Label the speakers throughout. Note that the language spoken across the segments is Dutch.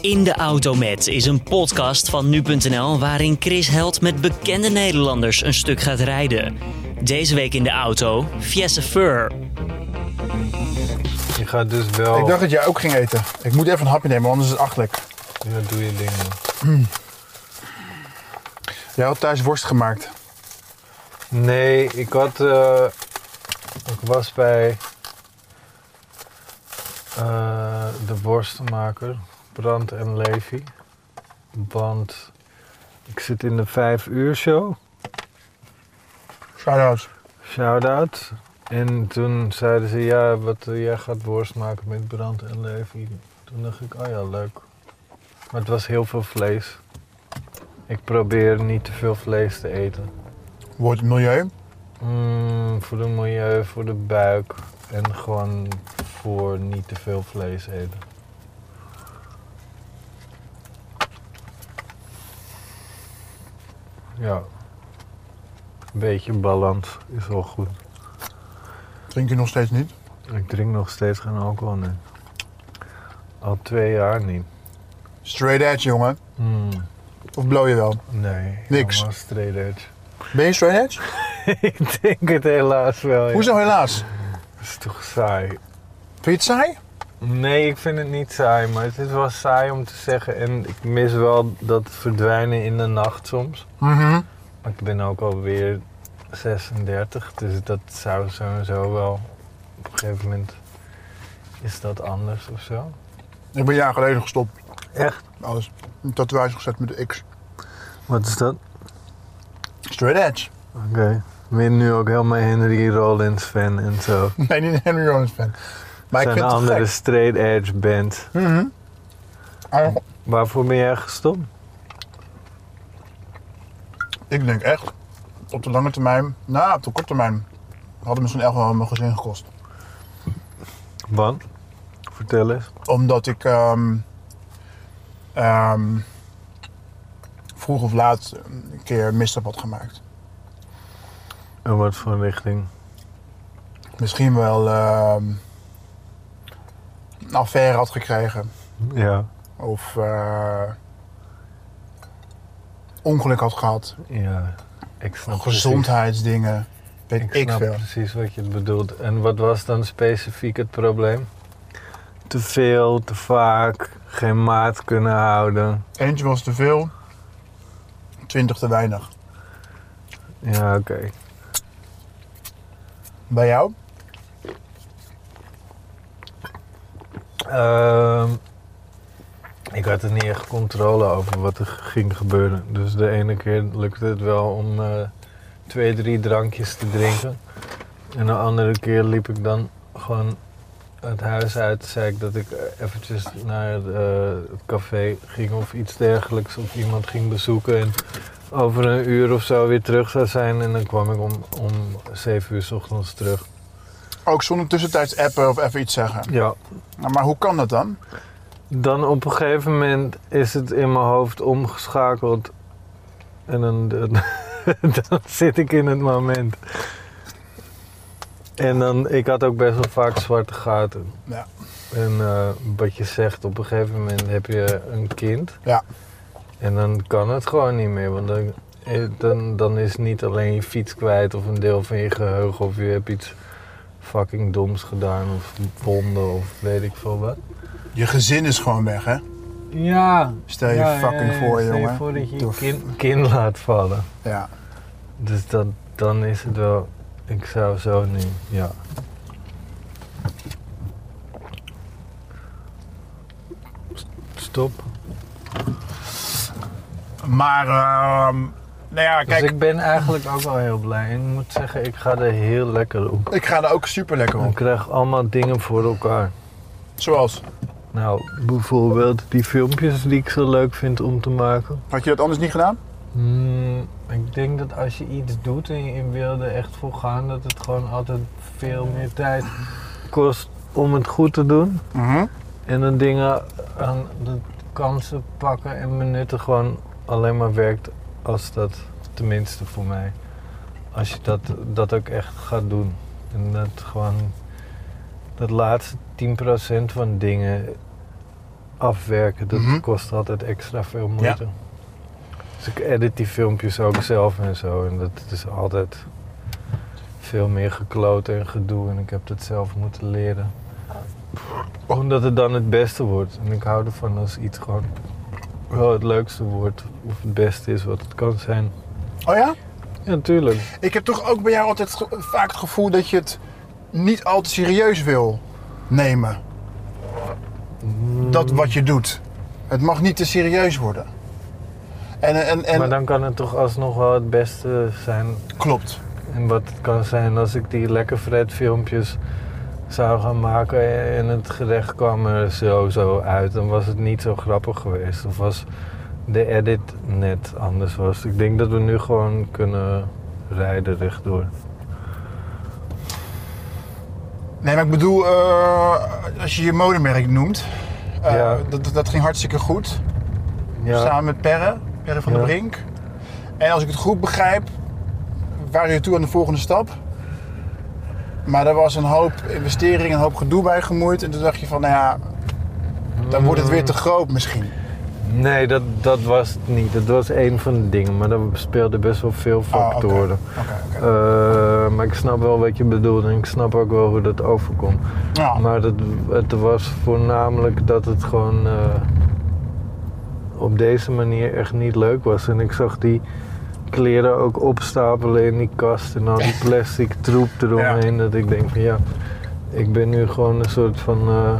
Speaker 1: In de Auto Met is een podcast van nu.nl waarin Chris Held met bekende Nederlanders een stuk gaat rijden. Deze week in de auto, Fiesse Fur.
Speaker 2: Je gaat dus wel.
Speaker 3: Ik dacht dat jij ook ging eten. Ik moet even een hapje nemen, anders is het achterlijk.
Speaker 2: Ja, doe je ding. man.
Speaker 3: Jij had thuis worst gemaakt.
Speaker 2: Nee, ik had. eh, ik was bij. eh, de worstenmaker, Brand en Levy. Want ik zit in de 5 uur show.
Speaker 3: Shout-out.
Speaker 2: Shout-out. En toen zeiden ze, ja, wat, eh, jij gaat worst maken met brand en Levy. Toen dacht ik, oh ja, leuk. Maar het was heel veel vlees. Ik probeer niet te veel vlees te eten.
Speaker 3: Wordt het milieu.
Speaker 2: Mm, voor het milieu, voor de buik. En gewoon voor niet te veel vlees eten. Ja. Een beetje balans is wel goed.
Speaker 3: Drink je nog steeds niet?
Speaker 2: Ik drink nog steeds geen alcohol, nee. Al twee jaar niet.
Speaker 3: Straight edge, jongen.
Speaker 2: Mm,
Speaker 3: Of blow je wel?
Speaker 2: nee.
Speaker 3: Niks.
Speaker 2: Allemaal straight edge.
Speaker 3: Ben je straight edge?
Speaker 2: ik denk het helaas wel. ja.
Speaker 3: Hoezo helaas?
Speaker 2: Het is toch saai.
Speaker 3: Vind je het saai?
Speaker 2: Nee, ik vind het niet saai, maar het is wel saai om te zeggen. En ik mis wel dat verdwijnen in de nacht soms.
Speaker 3: Mhm.
Speaker 2: Maar ik ben ook alweer 36, dus dat zou sowieso wel op een gegeven moment. Is dat anders of zo?
Speaker 3: Ik ben een jaar geleden gestopt.
Speaker 2: Echt?
Speaker 3: Alles. Een tatoeage gezet met de X.
Speaker 2: Wat is dat?
Speaker 3: Straight edge.
Speaker 2: Oké. Ben je nu ook helemaal Henry Rollins fan en zo?
Speaker 3: Nee, niet een Henry Rollins fan. Maar ik
Speaker 2: zijn
Speaker 3: vind het
Speaker 2: andere
Speaker 3: gek.
Speaker 2: straight edge band.
Speaker 3: Mhm. Ah,
Speaker 2: Waarvoor ben jij gestopt?
Speaker 3: Ik denk echt, op de lange termijn, nou, op de korte termijn, hadden misschien echt wel mijn gezin gekost.
Speaker 2: Want? Vertel eens.
Speaker 3: Omdat ik ehm, ehm, vroeg of laat een keer misstap had gemaakt.
Speaker 2: In wat voor richting?
Speaker 3: Misschien wel ehm, een affaire had gekregen.
Speaker 2: Ja.
Speaker 3: Of eh, ongeluk had gehad.
Speaker 2: Ja. Ik snap
Speaker 3: Gezondheidsdingen. Weet
Speaker 2: precies.
Speaker 3: ik,
Speaker 2: Ik snap
Speaker 3: veel.
Speaker 2: precies wat je bedoelt. En wat was dan specifiek het probleem? Te veel, te vaak, geen maat kunnen houden.
Speaker 3: Eentje was te veel. Twintig te weinig.
Speaker 2: Ja, oké.
Speaker 3: Bij jou?
Speaker 2: Ehm, ik had er niet echt controle over wat er ging gebeuren. Dus de ene keer lukte het wel om eh, twee, drie drankjes te drinken. En de andere keer liep ik dan gewoon het huis uit. Zei ik dat ik eh, eventjes naar eh, het café ging of iets dergelijks. Of iemand ging bezoeken. En over een uur of zo weer terug zou zijn. En dan kwam ik om, om zeven uur s ochtends terug.
Speaker 3: Ook zonder tussentijds appen of even iets zeggen.
Speaker 2: Ja,
Speaker 3: Nou, maar hoe kan dat dan?
Speaker 2: Dan op een gegeven moment is het in mijn hoofd omgeschakeld. En dan, dan, dan zit ik in het moment. En dan, ik had ook best wel vaak zwarte gaten.
Speaker 3: Ja.
Speaker 2: En eh, wat je zegt, op een gegeven moment heb je een kind.
Speaker 3: Ja.
Speaker 2: En dan kan het gewoon niet meer. Want dan, eh, dan, dan is niet alleen je fiets kwijt of een deel van je geheugen. Of je hebt iets fucking doms gedaan. Of wonden of weet ik veel wat.
Speaker 3: Je gezin is gewoon weg, hè?
Speaker 2: Ja.
Speaker 3: Stel je fucking voor,
Speaker 2: Stel je
Speaker 3: jongen.
Speaker 2: voor dat je je
Speaker 3: Doe-
Speaker 2: kin, kin laat vallen.
Speaker 3: Ja.
Speaker 2: Dus dat, dan is het wel... Ik zou zo nu... Ja. Stop.
Speaker 3: Maar, ehm nou ja, kijk,
Speaker 2: dus
Speaker 3: ik...
Speaker 2: ik ben eigenlijk ook wel heel blij. En ik moet zeggen, ik ga er heel lekker op.
Speaker 3: ga er ook super lekker
Speaker 2: Ik
Speaker 3: op.
Speaker 2: krijg allemaal dingen voor elkaar.
Speaker 3: Zoals,
Speaker 2: Nou, bijvoorbeeld die filmpjes die ik zo leuk vind om te maken.
Speaker 3: had je dat anders niet gedaan?
Speaker 2: Hmm, ik denk dat als je iets doet en je in wilde echt voor gaan, dat het gewoon altijd veel meer tijd kost om het goed te doen.
Speaker 3: Mhm.
Speaker 2: En dan dingen aan de kansen pakken en benutten gewoon alleen maar werkt als dat, tenminste voor mij, als je dat, dat ook echt gaat doen. En dat gewoon, dat laatste 10% van dingen afwerken, dat
Speaker 3: Mhm.
Speaker 2: kost altijd extra veel moeite. Dus ik edit die filmpjes ook zelf en zo. En dat is altijd veel meer gekloot en gedoe. En ik heb dat zelf moeten leren. Omdat het dan het beste wordt. En ik hou ervan als iets gewoon wel het leukste wordt. Of het beste is wat het kan zijn.
Speaker 3: Oh ja?
Speaker 2: Ja, tuurlijk.
Speaker 3: Ik heb toch ook bij jou altijd ge- vaak het gevoel dat je het niet al te serieus wil nemen. Dat wat je doet. Het mag niet te serieus worden. En, en, en
Speaker 2: Maar nou- dan kan het toch alsnog wel het beste zijn
Speaker 3: klopt.
Speaker 2: En wat het kan zijn als ik die lekker Fred filmpjes zou gaan maken en het gerecht kwam er zo, zo uit, dan was het niet zo grappig geweest. Of was de edit net anders was. Ik denk dat we nu gewoon kunnen rijden rechtdoor.
Speaker 3: Nee, maar ik bedoel, eh, als je je modemerk noemt, eh,
Speaker 2: Ja.
Speaker 3: dat, dat- dat ging hartstikke goed.
Speaker 2: Ja,
Speaker 3: Samen met Perre, Perre van
Speaker 2: Ja.
Speaker 3: der Brink. En als ik het goed begrijp, waren jullie toe aan de volgende stap. Maar er was een hoop investering, een hoop gedoe bij gemoeid. En toen dacht je van, nou ja, dan wordt het weer te groot misschien.
Speaker 2: nee, dat, dat was het niet. Dat was één van de dingen, maar daar speelden best wel veel
Speaker 3: Ah, oké.
Speaker 2: factoren.
Speaker 3: Oké, oké.
Speaker 2: Eh, maar ik snap wel wat je bedoelt en ik snap ook wel hoe dat overkomt.
Speaker 3: Ja.
Speaker 2: Maar het, het was voornamelijk dat het gewoon eh, op deze manier echt niet leuk was. En ik zag die kleren ook opstapelen in die kast en al die plastic troep eromheen. Dat ik denk van ja, ik ben nu gewoon een soort van eh,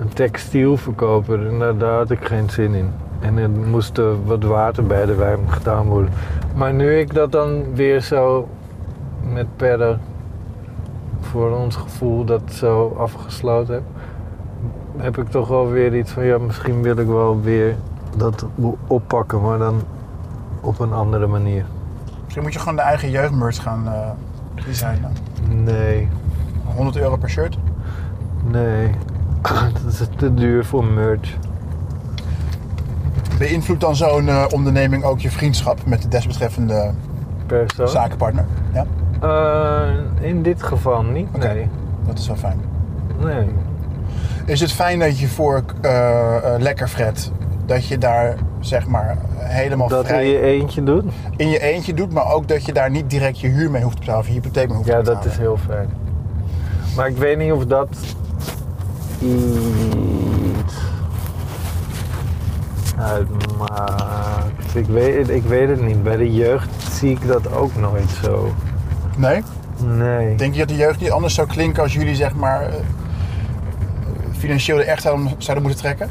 Speaker 2: een textielverkoper. En daar, daar had ik geen zin in. En er moest eh, wat water bij de wijn gedaan worden. Maar nu ik dat dan weer zo met perren voor ons gevoel dat zo afgesloten heb, heb ik toch wel weer iets van ja, misschien wil ik wel weer dat oppakken, maar dan op een andere manier.
Speaker 3: Misschien moet je gewoon de eigen jeugdmerch gaan eh, designen.
Speaker 2: Nee,
Speaker 3: 100 euro per shirt.
Speaker 2: nee. Dat is te duur voor merch.
Speaker 3: Beïnvloedt dan zo'n eh, onderneming ook je vriendschap met de desbetreffende
Speaker 2: Perso.
Speaker 3: zakenpartner? Ja,
Speaker 2: Eh, in dit geval niet,
Speaker 3: Oké.
Speaker 2: nee.
Speaker 3: dat is wel fijn.
Speaker 2: Nee.
Speaker 3: Is het fijn dat je voor eh, eh, Lekker Fred, dat je daar zeg maar helemaal
Speaker 2: Dat in
Speaker 3: vrij
Speaker 2: je eentje doet?
Speaker 3: in je eentje doet, maar ook dat je daar niet direct je huur mee hoeft te betalen of je hypotheek mee hoeft
Speaker 2: Ja,
Speaker 3: te
Speaker 2: dat
Speaker 3: betalen?
Speaker 2: is heel fijn. Maar ik weet niet of dat iets uitmaakt. Ik weet, het- ik weet het niet. Bij de jeugd zie ik dat ook nooit zo.
Speaker 3: Nee?
Speaker 2: Nee.
Speaker 3: Denk je dat de jeugd niet anders zou klinken als jullie zeg maar eh, financieel er echt aan zouden moeten trekken?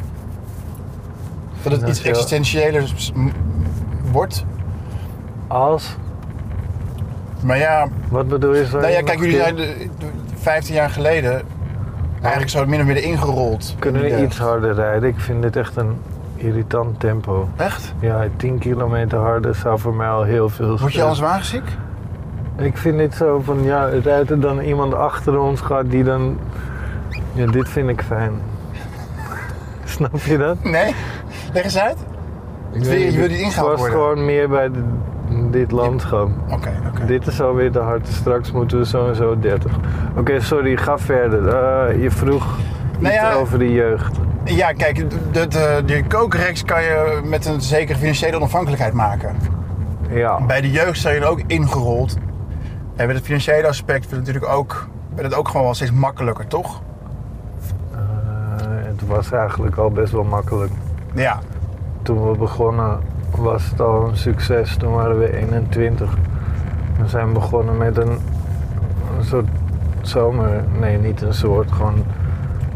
Speaker 3: Dat het iets
Speaker 2: Financieel.
Speaker 3: existentiëler s- m- wordt?
Speaker 2: Als?
Speaker 3: Maar ja,
Speaker 2: Wat bedoel je? Zo
Speaker 3: nou ja kijk, jullie zijn de- de- 15 jaar geleden eigenlijk zo min of meer ingerold. in
Speaker 2: Kunnen
Speaker 3: die
Speaker 2: we
Speaker 3: jeugd.
Speaker 2: iets harder rijden? Ik vind dit echt een irritant tempo.
Speaker 3: Echt?
Speaker 2: Ja, 10 kilometer harder zou voor mij al heel veel
Speaker 3: Word je
Speaker 2: schelen.
Speaker 3: anders wagenziek?
Speaker 2: Ik vind dit zo van, ja, rijdt er dan iemand achter ons gaat die dan... Ja, dit vind ik fijn. Snap je dat?
Speaker 3: Nee? Leg eens uit. wil- je wil niet ingehaald
Speaker 2: Ik was
Speaker 3: worden.
Speaker 2: gewoon meer bij de- dit landschap.
Speaker 3: Oké, oké.
Speaker 2: Dit is alweer te hard. Straks moeten we zo en zo 30. Oké, sorry, ga verder. Eh, je vroeg
Speaker 3: Nou
Speaker 2: iets
Speaker 3: ja,
Speaker 2: over de jeugd.
Speaker 3: Ja, kijk, de, de, de eh, kookreeks kan je met een zekere financiële onafhankelijkheid maken.
Speaker 2: Ja,
Speaker 3: Bij de jeugd zijn je er ook ingerold. En met het financiële aspect wordt het natuurlijk ook, werd het ook gewoon wel steeds makkelijker, toch?
Speaker 2: Eh, het was eigenlijk al best wel makkelijk.
Speaker 3: Ja.
Speaker 2: Toen we begonnen was het al een succes. Toen waren we 21. We zijn begonnen met een, een soort zomer... Nee, niet een soort. Gewoon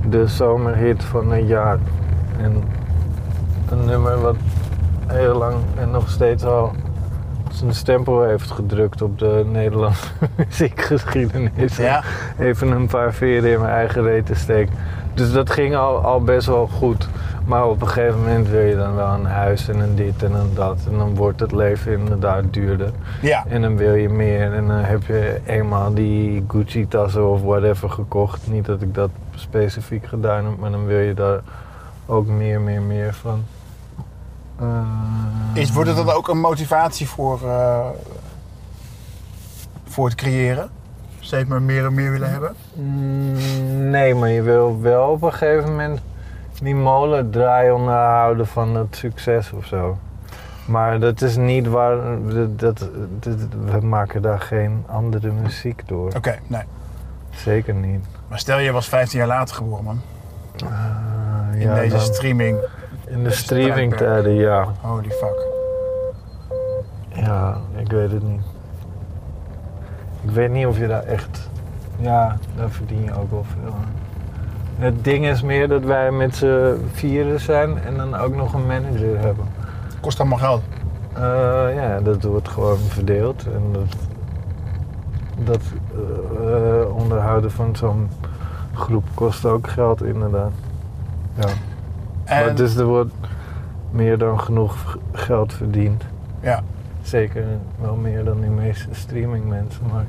Speaker 2: de zomerhit van een jaar. En een nummer wat heel lang en nog steeds al zijn stempel heeft gedrukt op de Nederlandse muziekgeschiedenis.
Speaker 3: Ja.
Speaker 2: Even een paar veren in mijn eigen reet te steken. Dus dat ging al, al best wel goed. Maar op een gegeven moment wil je dan wel een huis en een dit en een dat. En dan wordt het leven inderdaad duurder.
Speaker 3: Ja.
Speaker 2: En dan wil je meer. En dan eh, heb je eenmaal die Gucci-tassen of whatever gekocht. Niet dat ik dat specifiek gedaan heb, maar dan wil je daar ook meer, meer, meer van. Eh,
Speaker 3: Is, wordt het dan ook een motivatie voor, eh, voor het creëren? Steeds maar meer en meer willen hebben?
Speaker 2: Mm, Nee, maar je wil wel op een gegeven moment die molen draai onderhouden van het succes of zo. Maar dat is niet waar. Dat, dat- dat- we maken daar geen andere muziek door.
Speaker 3: Oké, nee.
Speaker 2: Zeker niet.
Speaker 3: Maar stel je was 15 jaar later geboren, man.
Speaker 2: Ah,
Speaker 3: In
Speaker 2: ja,
Speaker 3: deze
Speaker 2: dan-
Speaker 3: streaming.
Speaker 2: in de streamingtijden, ja.
Speaker 3: Holy fuck.
Speaker 2: Ja, ik weet het niet. Ik weet niet of je daar echt. Ja, daar verdien je ook wel veel aan. Het ding is meer dat wij met z'n vieren zijn en dan ook nog een manager hebben.
Speaker 3: Kost allemaal geld.
Speaker 2: Eh, ja, dat wordt gewoon verdeeld. En dat, dat eh, eh, onderhouden van zo'n groep kost ook geld, inderdaad. Ja. Maar
Speaker 3: En,
Speaker 2: dus er wordt meer dan genoeg v- geld verdiend.
Speaker 3: Ja.
Speaker 2: Zeker wel meer dan die meeste streamingmensen, maar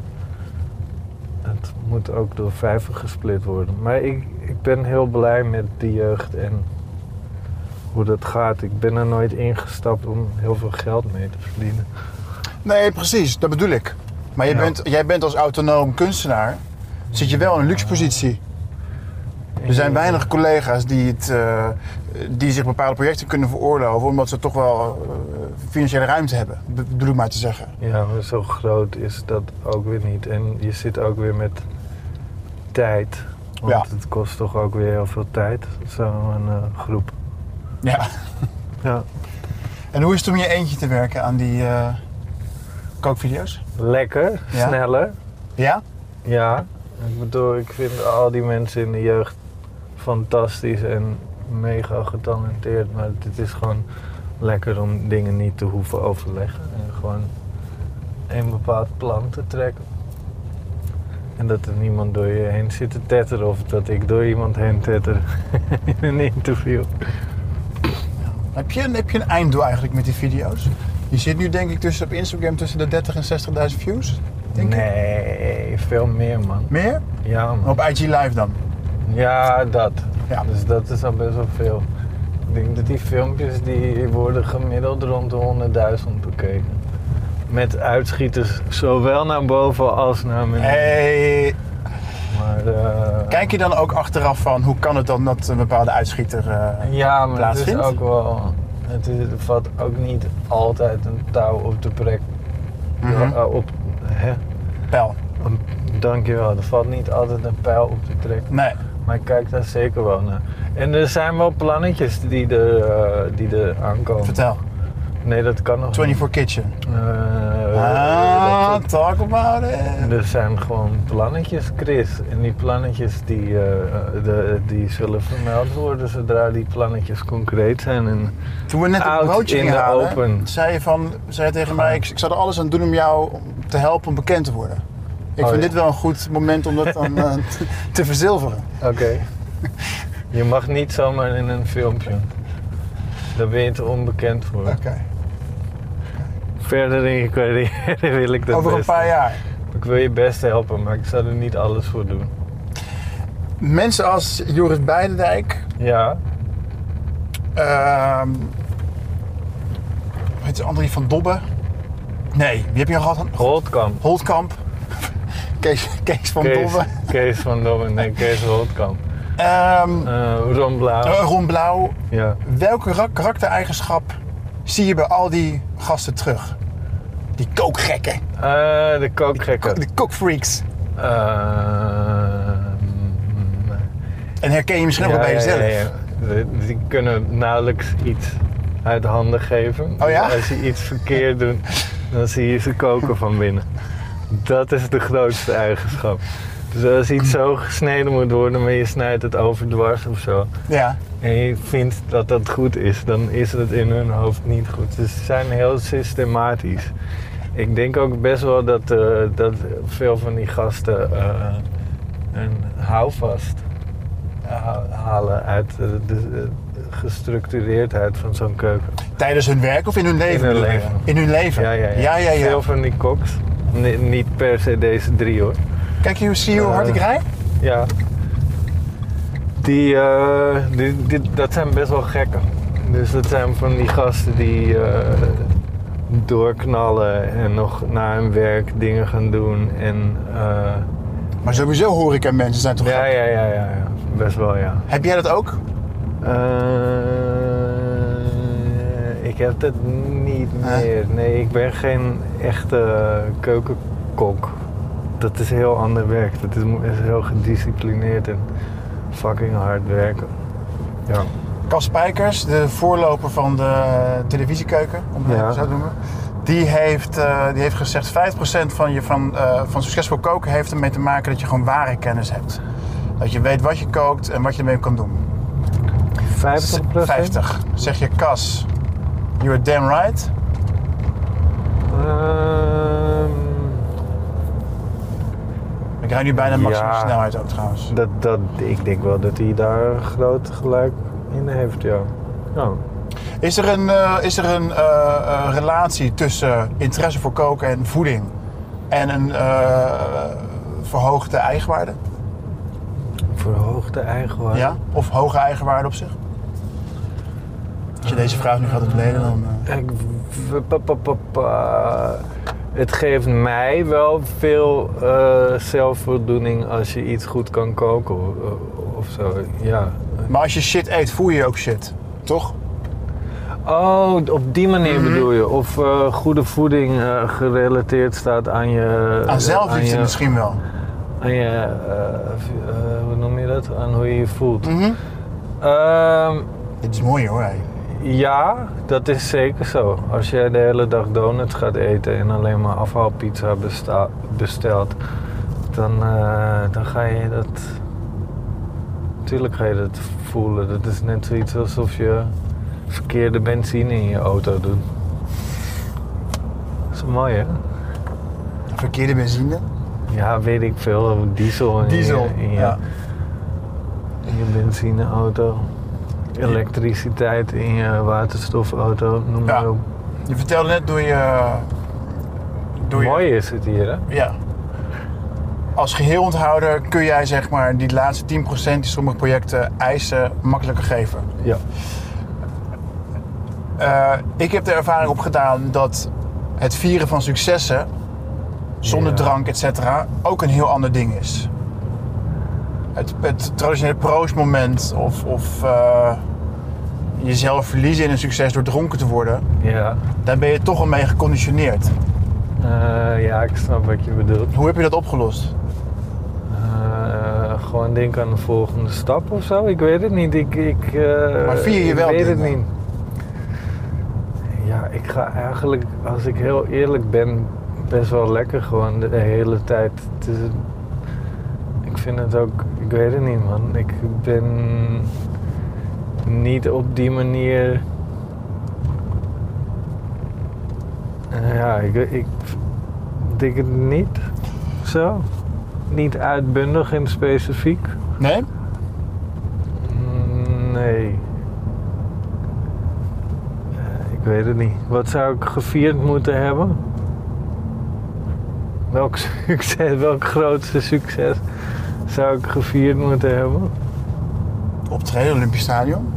Speaker 2: het moet ook door vijven gesplit worden. Maar ik, ik ben heel blij met die jeugd en hoe dat gaat. Ik ben er nooit ingestapt om heel veel geld mee te verdienen.
Speaker 3: Nee, precies. Dat bedoel ik. Maar jij,
Speaker 2: Ja.
Speaker 3: bent, jij bent als autonoom kunstenaar... zit je wel in een luxe positie. Er zijn weinig collega's die, het, eh, die zich bepaalde projecten kunnen veroorloven... omdat ze toch wel eh, financiële ruimte hebben. be- Bedoel ik maar te zeggen.
Speaker 2: Ja, maar zo groot is dat ook weer niet. En je zit ook weer met tijd. Want
Speaker 3: Ja.
Speaker 2: het kost toch ook weer heel veel tijd, zo'n eh, groep.
Speaker 3: Ja.
Speaker 2: Ja.
Speaker 3: En hoe is het om in je eentje te werken aan die eh, kookvideo's?
Speaker 2: Lekker,
Speaker 3: Ja.
Speaker 2: sneller.
Speaker 3: Ja?
Speaker 2: Ja, ik bedoel, ik vind al die mensen in de jeugd fantastisch en mega getalenteerd. Maar het is gewoon lekker om dingen niet te hoeven overleggen. En gewoon een bepaald plan te trekken. En dat er niemand door je heen zit te tetteren of dat ik door iemand heen tetter in een interview.
Speaker 3: Heb je, een- heb je een einddoel eigenlijk met die video's? Je zit nu denk ik tussen, op Instagram tussen de 30 en 60.000 views. Denk ik.
Speaker 2: Nee, veel meer man.
Speaker 3: Meer?
Speaker 2: Ja man.
Speaker 3: Op IG Live dan.
Speaker 2: Ja, dat.
Speaker 3: Ja.
Speaker 2: Dus dat is al best wel veel. Ik denk dat die filmpjes die worden gemiddeld rond de 100.000 bekeken. Met uitschieters zowel naar boven als naar beneden.
Speaker 3: Hey,
Speaker 2: Maar, eh,
Speaker 3: kijk je dan ook achteraf van hoe kan het dan dat een bepaalde uitschieter... eh,
Speaker 2: Ja, maar het is
Speaker 3: plaatsvindt?
Speaker 2: ook wel... Het, is, het valt ook niet altijd een touw op de plek.
Speaker 3: mhm,
Speaker 2: eh, op, hè?
Speaker 3: Pijl.
Speaker 2: Een- Dankjewel. Er valt niet altijd een pijl op de plek.
Speaker 3: Nee.
Speaker 2: Maar ik kijk daar zeker wel naar. En er zijn wel plannetjes die er, eh, die er aankomen.
Speaker 3: Vertel.
Speaker 2: Nee, dat kan nog
Speaker 3: 24 Kitchen.
Speaker 2: niet. Eh,
Speaker 3: Ah,
Speaker 2: dat-
Speaker 3: talk about it.
Speaker 2: er zijn gewoon plannetjes, Chris. En die plannetjes die, eh, de, die zullen vermeld worden zodra die plannetjes concreet zijn. En
Speaker 3: Toen we net een
Speaker 2: Out
Speaker 3: broodje
Speaker 2: in
Speaker 3: gingen
Speaker 2: the
Speaker 3: halen,
Speaker 2: open.
Speaker 3: zei je van, zei je tegen mij, ik, ik zou er alles aan doen om jou te helpen om bekend te worden. Ik
Speaker 2: Oh,
Speaker 3: vind
Speaker 2: ja.
Speaker 3: dit wel een goed moment om dat dan eh, te- te verzilveren.
Speaker 2: oké, je mag niet zomaar in een filmpje. Daar ben je te onbekend voor. Verder in je carrière wil ik dat
Speaker 3: Over een
Speaker 2: best-
Speaker 3: paar jaar.
Speaker 2: Ik wil je best helpen, maar ik zal er niet alles voor doen.
Speaker 3: Mensen als Joris Beidendijk,
Speaker 2: Ja,
Speaker 3: ehm hoe heet ze, André van Dobbe. Nee, wie heb je al gehad?
Speaker 2: Holtkamp.
Speaker 3: Holtkamp. Kees, Kees van
Speaker 2: Kees,
Speaker 3: Dobbe.
Speaker 2: Kees van Dobben, nee, Kees Holtkamp.
Speaker 3: Ehm
Speaker 2: Eh Ron Blauw.
Speaker 3: eh, Ron Blauw.
Speaker 2: Ja.
Speaker 3: Welke ra- karaktereigenschap zie je bij al die gasten terug? Die kookgekken,
Speaker 2: Eh, de Eh, kookgekken.
Speaker 3: de kookfreaks.
Speaker 2: Ehm,
Speaker 3: En herken je misschien ook
Speaker 2: ja,
Speaker 3: wel bij
Speaker 2: ja,
Speaker 3: jezelf.
Speaker 2: ja, ja. De- Die kunnen nauwelijks iets uit handen geven.
Speaker 3: Oh ja?
Speaker 2: Dus als je iets verkeerd doet, dan zie je ze koken van binnen. Dat is de grootste eigenschap. Dus als iets zo gesneden moet worden, maar je snijdt het overdwars of zo.
Speaker 3: Ja.
Speaker 2: en je vindt dat dat goed is, dan is het in hun hoofd niet goed. Dus ze zijn heel systematisch. Ik denk ook best wel dat, eh, dat veel van die gasten eh, een houvast eh, ha- halen uit eh, de, eh, gestructureerdheid van zo'n keuken.
Speaker 3: Tijdens hun werk of in hun leven?
Speaker 2: In hun
Speaker 3: bedoel je?
Speaker 2: leven.
Speaker 3: In hun leven.
Speaker 2: Ja, ja, ja.
Speaker 3: ja, ja.
Speaker 2: Veel van die koks. Ni- niet per se deze drie hoor.
Speaker 3: Kijk, je, zie je hoe hard ik
Speaker 2: Eh,
Speaker 3: rij?
Speaker 2: Ja. Die, eh, die, die- dat zijn best wel gekken. Dus dat zijn van die gasten die eh, doorknallen en nog na hun werk dingen gaan doen. En, eh,
Speaker 3: Maar sowieso hoor ik en mensen zijn toch
Speaker 2: ja,
Speaker 3: gek?
Speaker 2: ja, ja, ja, ja, best wel ja.
Speaker 3: Heb jij dat ook?
Speaker 2: Eh, ik heb dat niet
Speaker 3: Hè?
Speaker 2: meer. Nee, ik ben geen echte keukenkok. Dat is heel ander werk. Dat is, is heel gedisciplineerd en fucking hard werken. Ja.
Speaker 3: Cas Spijkers, de voorloper van de televisiekeuken, om het
Speaker 2: Ja.
Speaker 3: even zo te noemen. Die heeft, eh, die heeft gezegd 5% van, je, van, eh, van succesvol koken heeft ermee te maken dat je gewoon ware kennis hebt. Dat je weet wat je kookt en wat je ermee kan doen.
Speaker 2: 50 plus
Speaker 3: 50. Zeg je Cas, you're damn right.
Speaker 2: Ehm,
Speaker 3: Ik rij nu bijna maximum
Speaker 2: Ja.
Speaker 3: snelheid ook trouwens.
Speaker 2: dat, dat, ik denk wel dat hij daar groot gelijk in heeft, ja. Ja.
Speaker 3: Is er een, eh, is er een eh, eh, relatie tussen interesse voor koken en voeding en een eh, verhoogde eigenwaarde?
Speaker 2: Verhoogde eigenwaarde.
Speaker 3: Ja? Of hoge eigenwaarde op zich? Als je deze vraag nu gaat ontleden, dan... eh,
Speaker 2: Ik, w- pa- pa- pa- pa. het geeft mij wel veel eh, zelfvoldoening als je iets goed kan koken eh, of zo. Ja.
Speaker 3: Maar als je shit eet, voel je je ook shit. Toch?
Speaker 2: Oh, op die manier
Speaker 3: Mhm.
Speaker 2: bedoel je. Of eh, goede voeding eh, gerelateerd staat aan je. eh,
Speaker 3: Aan zelfliefde
Speaker 2: je-
Speaker 3: misschien wel.
Speaker 2: Aan je. eh, v- eh, hoe noem je dat? Aan hoe je je voelt.
Speaker 3: Mhm.
Speaker 2: Ehm,
Speaker 3: Dit is mooi hoor, hé.
Speaker 2: ja, dat is zeker zo. Als jij de hele dag donuts gaat eten en alleen maar afhaalpizza besta- bestelt, dan, eh, dan ga je dat. Tuurlijk ga je dat voelen. Dat is net zoiets alsof je verkeerde benzine in je auto doet. Dat is mooi, hè?
Speaker 3: Verkeerde benzine.
Speaker 2: Ja, weet ik veel. Diesel in
Speaker 3: Diesel.
Speaker 2: je, in je,
Speaker 3: Ja.
Speaker 2: in je benzineauto. Elektriciteit in je waterstofauto, noem maar
Speaker 3: Ja.
Speaker 2: op.
Speaker 3: Je vertelde net door je... Door
Speaker 2: Mooi is het hier, hè?
Speaker 3: Je, ja. Als geheelonthouder kun jij zeg maar die laatste 10% die sommige projecten eisen makkelijker geven.
Speaker 2: Ja.
Speaker 3: Eh, ik heb de ervaring opgedaan dat het vieren van successen, zonder
Speaker 2: Ja.
Speaker 3: drank, et cetera, ook een heel ander ding is. Het, het traditionele proostmoment of, of eh, jezelf verliezen in een succes door dronken te worden,
Speaker 2: Ja.
Speaker 3: daar ben je toch al mee geconditioneerd.
Speaker 2: Eh, ja, ik snap wat je bedoelt.
Speaker 3: Hoe heb je dat opgelost?
Speaker 2: Eh, gewoon denk aan de volgende stap of zo. Ik weet het niet. Ik, ik, eh,
Speaker 3: Maar vier je
Speaker 2: ik
Speaker 3: wel
Speaker 2: weet het
Speaker 3: dingen?
Speaker 2: niet. Ja, ik ga eigenlijk, als ik heel eerlijk ben, best wel lekker gewoon de, de hele tijd. Het is, ik vind het ook, ik weet het niet man. Ik ben niet op die manier. Eh, ja, ik, ik denk het niet. Zo. Niet uitbundig en specifiek.
Speaker 3: Nee?
Speaker 2: Mm, Nee. Eh, Ik weet het niet. Wat zou ik gevierd moeten hebben? Welk succes, welk grootste succes zou ik gevierd moeten hebben?
Speaker 3: Optreden, Olympisch Stadion.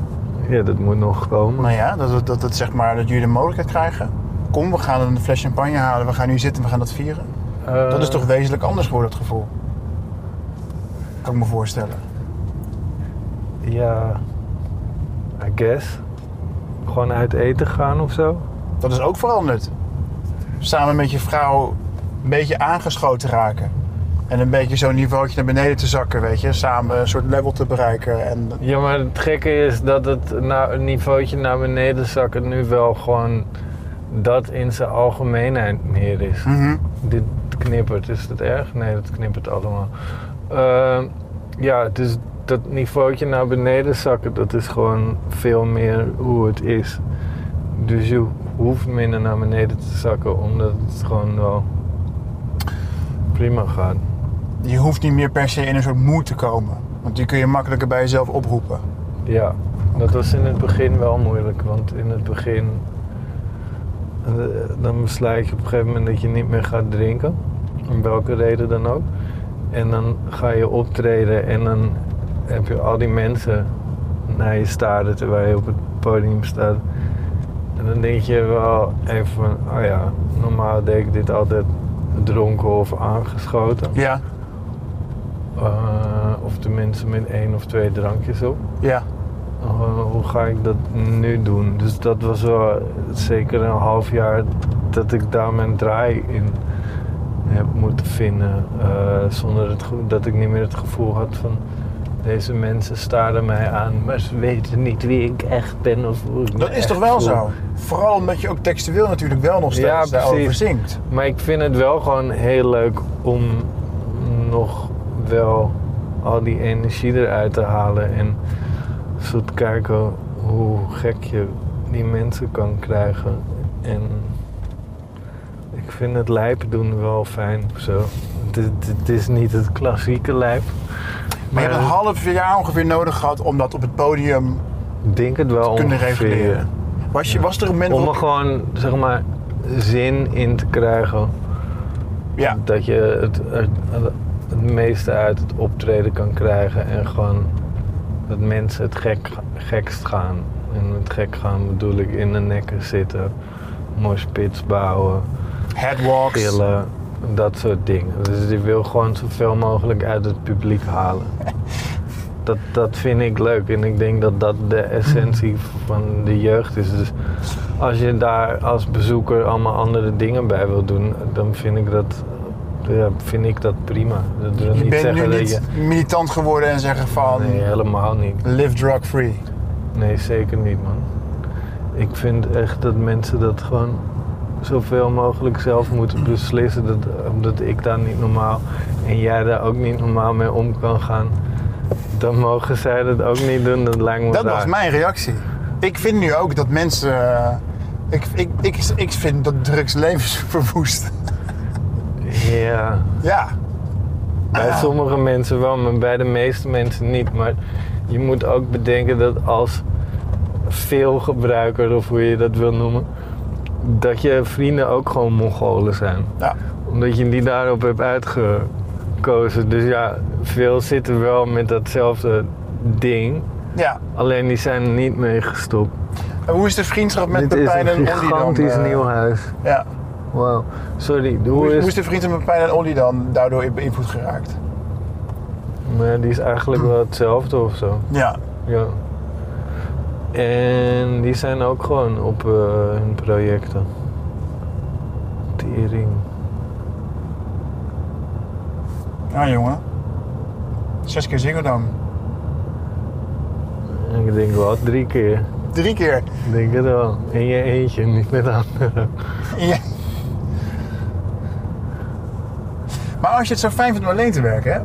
Speaker 2: Ja, dat moet nog komen.
Speaker 3: Nou ja, dat, dat, dat, dat, zeg maar, dat jullie de mogelijkheid krijgen. Kom, we gaan een fles champagne halen, we gaan nu zitten, we gaan dat vieren. Dat is
Speaker 2: Eh,
Speaker 3: toch wezenlijk anders geworden, het gevoel? Kan ik me voorstellen.
Speaker 2: Ja, I guess. Gewoon uit eten gaan of zo.
Speaker 3: Dat is ook veranderd. Samen met je vrouw een beetje aangeschoten raken. En een beetje zo'n niveautje naar beneden te zakken, weet je. Samen een soort level te bereiken. En
Speaker 2: Ja, maar het gekke is dat het na, een niveautje naar beneden zakken nu wel gewoon dat in zijn algemeenheid meer is.
Speaker 3: Mhm.
Speaker 2: Dit knippert, is dat erg? Nee, dat knippert allemaal. Ehm, ja, dus dat niveautje naar beneden zakken, dat is gewoon veel meer hoe het is. Dus je hoeft minder naar beneden te zakken, omdat het gewoon wel prima gaat.
Speaker 3: je hoeft niet meer per se in een soort moed te komen. Want die kun je makkelijker bij jezelf oproepen.
Speaker 2: Ja, dat was in het begin wel moeilijk, want in het begin eh, dan besluit je op een gegeven moment dat je niet meer gaat drinken, om welke reden dan ook. En dan ga je optreden en dan heb je al die mensen naar je staren terwijl je op het podium staat. En dan denk je wel even van, oh ja, normaal deed ik dit altijd dronken of aangeschoten.
Speaker 3: Ja,
Speaker 2: Eh, of tenminste met één of twee drankjes op.
Speaker 3: ja.
Speaker 2: Eh, hoe- hoe ga ik dat nu doen? Dus dat was wel zeker een half jaar dat ik daar mijn draai in heb moeten vinden. eh, zonder het ge- dat ik niet meer het gevoel had van deze mensen staren mij aan, maar ze weten niet wie ik echt ben of hoe ik me
Speaker 3: Dat is
Speaker 2: echt
Speaker 3: toch wel
Speaker 2: voel.
Speaker 3: zo? Vooral omdat je ook textueel natuurlijk wel nog steeds
Speaker 2: Ja, precies.
Speaker 3: daarover zingt.
Speaker 2: Maar ik vind het wel gewoon heel leuk om nog wel al die energie eruit te halen. En zo te kijken hoe gek je die mensen kan krijgen. En ik vind het lijp doen wel fijn of zo. Het, is- het is niet het klassieke lijp.
Speaker 3: Maar je hebt een half jaar ongeveer nodig gehad om dat op het podium
Speaker 2: Ik denk het wel
Speaker 3: te kunnen
Speaker 2: ongeveer.
Speaker 3: reguleren. Was, je, was er een moment
Speaker 2: Om er
Speaker 3: waarop-
Speaker 2: gewoon, zeg maar, zin in te krijgen.
Speaker 3: Ja,
Speaker 2: Dat je het, het, het meeste uit het optreden kan krijgen en gewoon dat mensen het gek, gekst gaan. En met gek gaan bedoel ik in de nekken zitten, moshpits bouwen,
Speaker 3: headwalks.
Speaker 2: gillen, dat soort dingen. Dus je wil gewoon zoveel mogelijk uit het publiek halen. Dat, dat vind ik leuk en ik denk dat dat de essentie van de jeugd is. Dus als je daar als bezoeker allemaal andere dingen bij wil doen, dan vind ik dat, ja, vind ik dat prima. Dat wil
Speaker 3: Je
Speaker 2: niet
Speaker 3: bent nu
Speaker 2: zeggen dat
Speaker 3: niet militant geworden en zeggen van
Speaker 2: je. Nee, helemaal niet.
Speaker 3: live drug free.
Speaker 2: Nee, zeker niet, man. Ik vind echt dat mensen dat gewoon zoveel mogelijk zelf moeten beslissen. Dat, omdat ik daar niet normaal en jij daar ook niet normaal mee om kan gaan. Dan mogen zij dat ook niet doen, dat lijkt me
Speaker 3: Dat
Speaker 2: raar.
Speaker 3: was mijn reactie. Ik vind nu ook dat mensen. eh, ik, ik, ik, ik vind dat drugs levens verwoest.
Speaker 2: Ja,
Speaker 3: ja,
Speaker 2: bij
Speaker 3: Ah.
Speaker 2: sommige mensen wel, maar bij de meeste mensen niet. Maar je moet ook bedenken dat als veelgebruiker, of hoe je dat wil noemen... dat je vrienden ook gewoon Mongolen zijn.
Speaker 3: ja.
Speaker 2: Omdat je die daarop hebt uitgekozen. Dus ja, veel zitten wel met datzelfde ding.
Speaker 3: ja.
Speaker 2: Alleen die zijn er niet mee gestopt.
Speaker 3: En hoe is de vriendschap met
Speaker 2: Dit is
Speaker 3: Pepijn en
Speaker 2: een
Speaker 3: Olly dan?
Speaker 2: gigantisch
Speaker 3: eh,
Speaker 2: nieuw huis.
Speaker 3: Ja.
Speaker 2: Wauw. Sorry, hoe,
Speaker 3: Hoe is,
Speaker 2: is...
Speaker 3: hoe is de vriendschap met Pepijn en Olly dan daardoor beïnvloed geraakt?
Speaker 2: Maar die is eigenlijk wel hetzelfde of zo.
Speaker 3: Ja.
Speaker 2: Ja. En die zijn ook gewoon op eh, hun projecten. Tering.
Speaker 3: Ja, jongen. Zes keer Ziggo Dome.
Speaker 2: Ik denk wel drie keer.
Speaker 3: Drie keer.
Speaker 2: Ik denk het wel. In je eentje, niet met anderen.
Speaker 3: Ja. Maar als je het zo fijn vindt om alleen te werken, hè?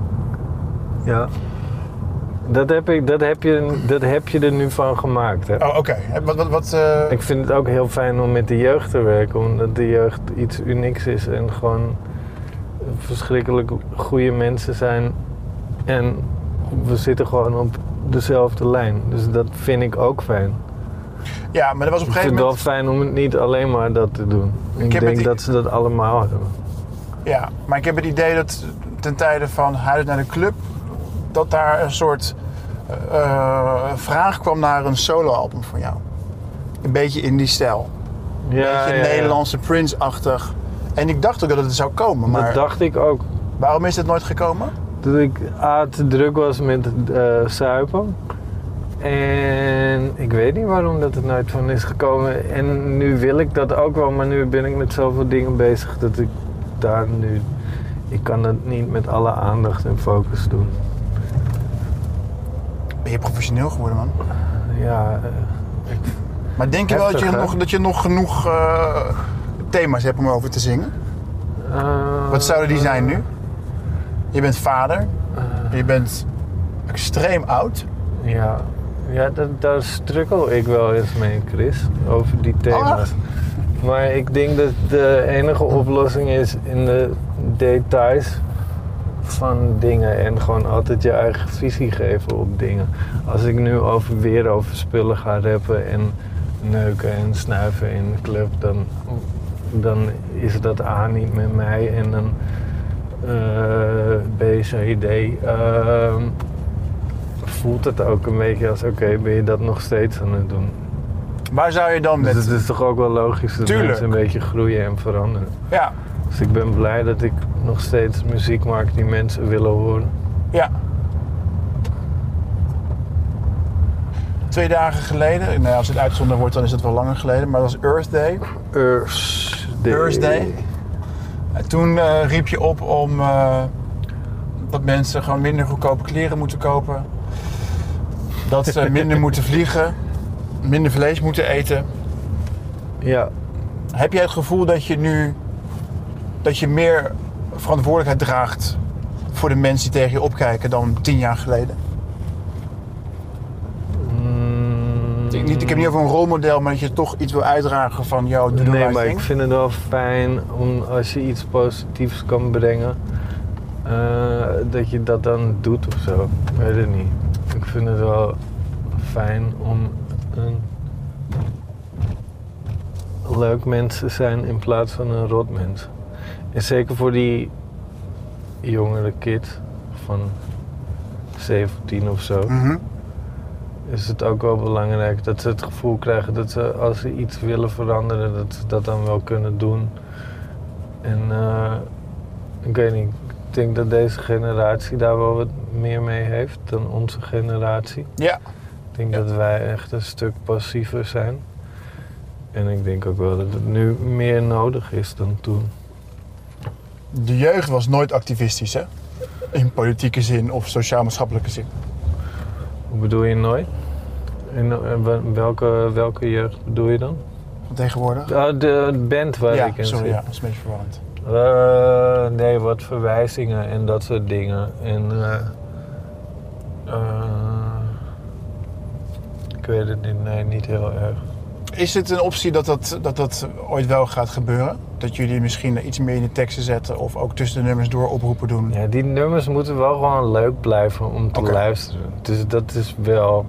Speaker 2: Ja. Dat heb, ik, dat, heb je, dat heb je er nu van gemaakt, hè?
Speaker 3: Oh, oké. En Wat, wat, wat, eh,
Speaker 2: Ik vind het ook heel fijn om met de jeugd te werken, omdat de jeugd iets unieks is en gewoon verschrikkelijk goede mensen zijn. En we zitten gewoon op dezelfde lijn. Dus dat vind ik ook fijn.
Speaker 3: Ja, maar dat was op een
Speaker 2: Ik vind
Speaker 3: gegeven
Speaker 2: het wel fijn
Speaker 3: moment...
Speaker 2: om het niet alleen maar dat te doen. Ik,
Speaker 3: heb het
Speaker 2: denk
Speaker 3: i-
Speaker 2: dat ze dat allemaal hebben.
Speaker 3: Ja, maar ik heb het idee dat ten tijde van Huis naar de Club... dat daar een soort eh, vraag kwam naar een soloalbum van jou. Een beetje in die stijl. Een beetje Nederlandse Prince-achtig. En ik dacht ook dat het zou komen, maar
Speaker 2: Dat dacht ik ook.
Speaker 3: waarom is het nooit gekomen?
Speaker 2: dat ik A, te druk was met eh suipen. En ik weet niet waarom dat er nooit van is gekomen. En nu wil ik dat ook wel, maar nu ben ik met zoveel dingen bezig dat ik daar nu... Ik kan dat niet met alle aandacht en focus doen.
Speaker 3: Ben je professioneel geworden, man?
Speaker 2: Ja, eh,
Speaker 3: Maar denk je wel dat je,
Speaker 2: Heftig, hè?
Speaker 3: nog, dat je nog genoeg eh, thema's hebt om over te zingen?
Speaker 2: eh,
Speaker 3: Wat zouden die zijn nu? Je bent vader.
Speaker 2: Eh.
Speaker 3: Je bent extreem oud.
Speaker 2: Ja, ja dat, daar struggle ik wel eens mee, Chris, over die thema's. Maar ik denk dat de enige oplossing is in de details van dingen en gewoon altijd je eigen visie geven op dingen. Als ik nu over weer over spullen ga rappen en neuken en snuiven in de club, dan, dan is dat A niet met mij en dan eh B, C, D. ehm, voelt het ook een beetje als oké, ben je dat nog steeds aan het doen?
Speaker 3: Waar zou je dan
Speaker 2: Dus
Speaker 3: met...
Speaker 2: het is toch ook wel logisch dat
Speaker 3: Tuurlijk.
Speaker 2: mensen een beetje groeien en veranderen.
Speaker 3: Ja,
Speaker 2: Dus ik ben blij dat ik nog steeds muziek maak die mensen willen horen.
Speaker 3: ja. twee dagen geleden. Nou, als het uitzonder wordt, dan is het wel langer geleden. Maar dat was Earth Day.
Speaker 2: Earth Day.
Speaker 3: Earth Day. En toen eh, riep je op om eh, dat mensen gewoon minder goedkope kleren moeten kopen. Dat ze minder moeten vliegen. Minder vlees moeten eten.
Speaker 2: Ja,
Speaker 3: Heb jij het gevoel dat je nu dat je meer verantwoordelijkheid draagt voor de mensen die tegen je opkijken dan tien jaar geleden? Ik, niet, ik heb niet over een rolmodel, maar dat je toch iets wil uitdragen van jou. Doe nou de
Speaker 2: Nee,
Speaker 3: right
Speaker 2: maar
Speaker 3: thing.
Speaker 2: ik vind het wel fijn om als je iets positiefs kan brengen, eh, dat je dat dan doet of zo. Ik weet het niet. Ik vind het wel fijn om een leuk mens te zijn in plaats van een rot mens. En zeker voor die jongere kid van 17 of zo
Speaker 3: Mhm.
Speaker 2: is het ook wel belangrijk dat ze het gevoel krijgen dat ze als ze iets willen veranderen, dat ze dat dan wel kunnen doen. En eh, ik weet niet, ik denk dat deze generatie daar wel wat meer mee heeft dan onze generatie.
Speaker 3: Ja,
Speaker 2: Ik denk
Speaker 3: Ja.
Speaker 2: dat wij echt een stuk passiever zijn. En ik denk ook wel dat het nu meer nodig is dan toen.
Speaker 3: de jeugd was nooit activistisch, hè? In politieke zin of sociaal-maatschappelijke zin.
Speaker 2: Hoe bedoel je nooit? En eh, wel- welke, welke jeugd bedoel je dan?
Speaker 3: Van tegenwoordig.
Speaker 2: Oh, de band waar
Speaker 3: ja,
Speaker 2: ik in
Speaker 3: sorry,
Speaker 2: zit.
Speaker 3: ja, dat is een beetje verwarrend.
Speaker 2: Eh, nee, wat verwijzingen en dat soort dingen. En eh, eh, ik weet het niet, nee, niet heel erg.
Speaker 3: Is het een optie dat dat, dat dat ooit wel gaat gebeuren? Dat jullie misschien iets meer in de teksten zetten of ook tussen de nummers door oproepen doen?
Speaker 2: Ja, die nummers moeten wel gewoon leuk blijven om te
Speaker 3: Oké.
Speaker 2: luisteren. Dus dat is wel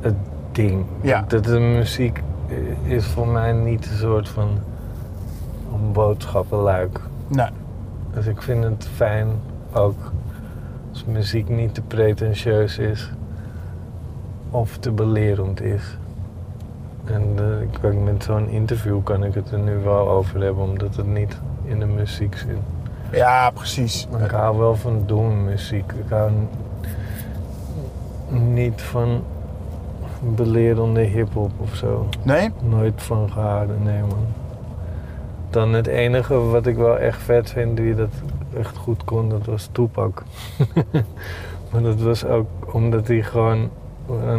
Speaker 2: het ding.
Speaker 3: Ja.
Speaker 2: Dat de muziek eh, is voor mij niet een soort van een boodschappenluik.
Speaker 3: Nee.
Speaker 2: Dus ik vind het fijn ook als muziek niet te pretentieus is of te belerend is. En eh, ik kan- met zo'n interview kan ik het er nu wel over hebben, omdat het niet in de muziek zit.
Speaker 3: Ja, precies.
Speaker 2: Maar ik hou wel van doen muziek. Ik hou n- niet van belerende hip-hop of zo.
Speaker 3: Nee?
Speaker 2: Nooit van gehouden, nee man. Dan het enige wat ik wel echt vet vind, die dat echt goed kon, dat was Toepak. maar dat was ook omdat hij gewoon eh,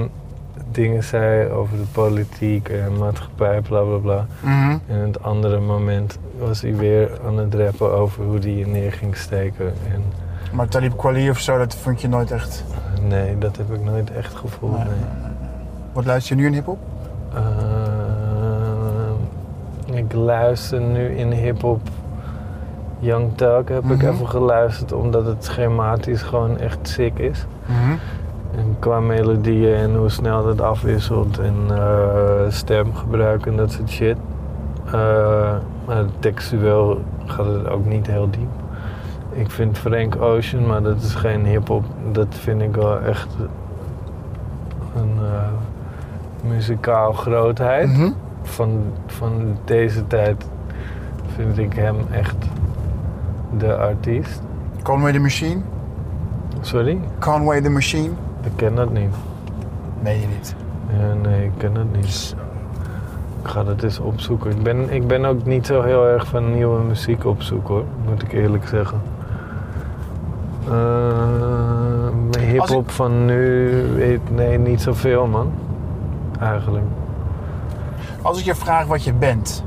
Speaker 2: dingen zei over de politiek en maatschappij, bla bla bla.
Speaker 3: Mhm.
Speaker 2: En het andere moment was hij weer aan het rappen over hoe hij je neer ging steken. En eh,
Speaker 3: Maar Talib Kweli of zo, dat vond je nooit echt.
Speaker 2: nee, dat heb ik nooit echt gevoeld.
Speaker 3: Nee.
Speaker 2: Nee.
Speaker 3: Wat luister je nu in hip-hop?
Speaker 2: Ehm, ik luister nu in hip-hop. Young Thug heb ik
Speaker 3: Mhm.
Speaker 2: even geluisterd omdat het schematisch gewoon echt sick is.
Speaker 3: Mhm.
Speaker 2: En qua melodieën en hoe snel dat afwisselt en eh, stemgebruik en dat soort shit. Eh, maar textueel gaat het ook niet heel diep. Ik vind Frank Ocean, maar dat is geen hip-hop, dat vind ik wel echt een eh, muzikaal grootheid
Speaker 3: Mhm.
Speaker 2: van, van deze tijd vind ik hem echt de artiest.
Speaker 3: Conway the Machine?
Speaker 2: Sorry,
Speaker 3: Conway the Machine?
Speaker 2: ik ken dat niet.
Speaker 3: Meen je niet. Dus,
Speaker 2: Ja, nee, ik ken dat niet. Ik ga dat eens opzoeken. Ik ben, ik ben ook niet zo heel erg van nieuwe muziek opzoeken hoor, moet ik eerlijk zeggen. Eh, mijn hip-hop van nu, weet- nee, niet zoveel man. Eigenlijk.
Speaker 3: eh, Als ik je vraag wat je bent,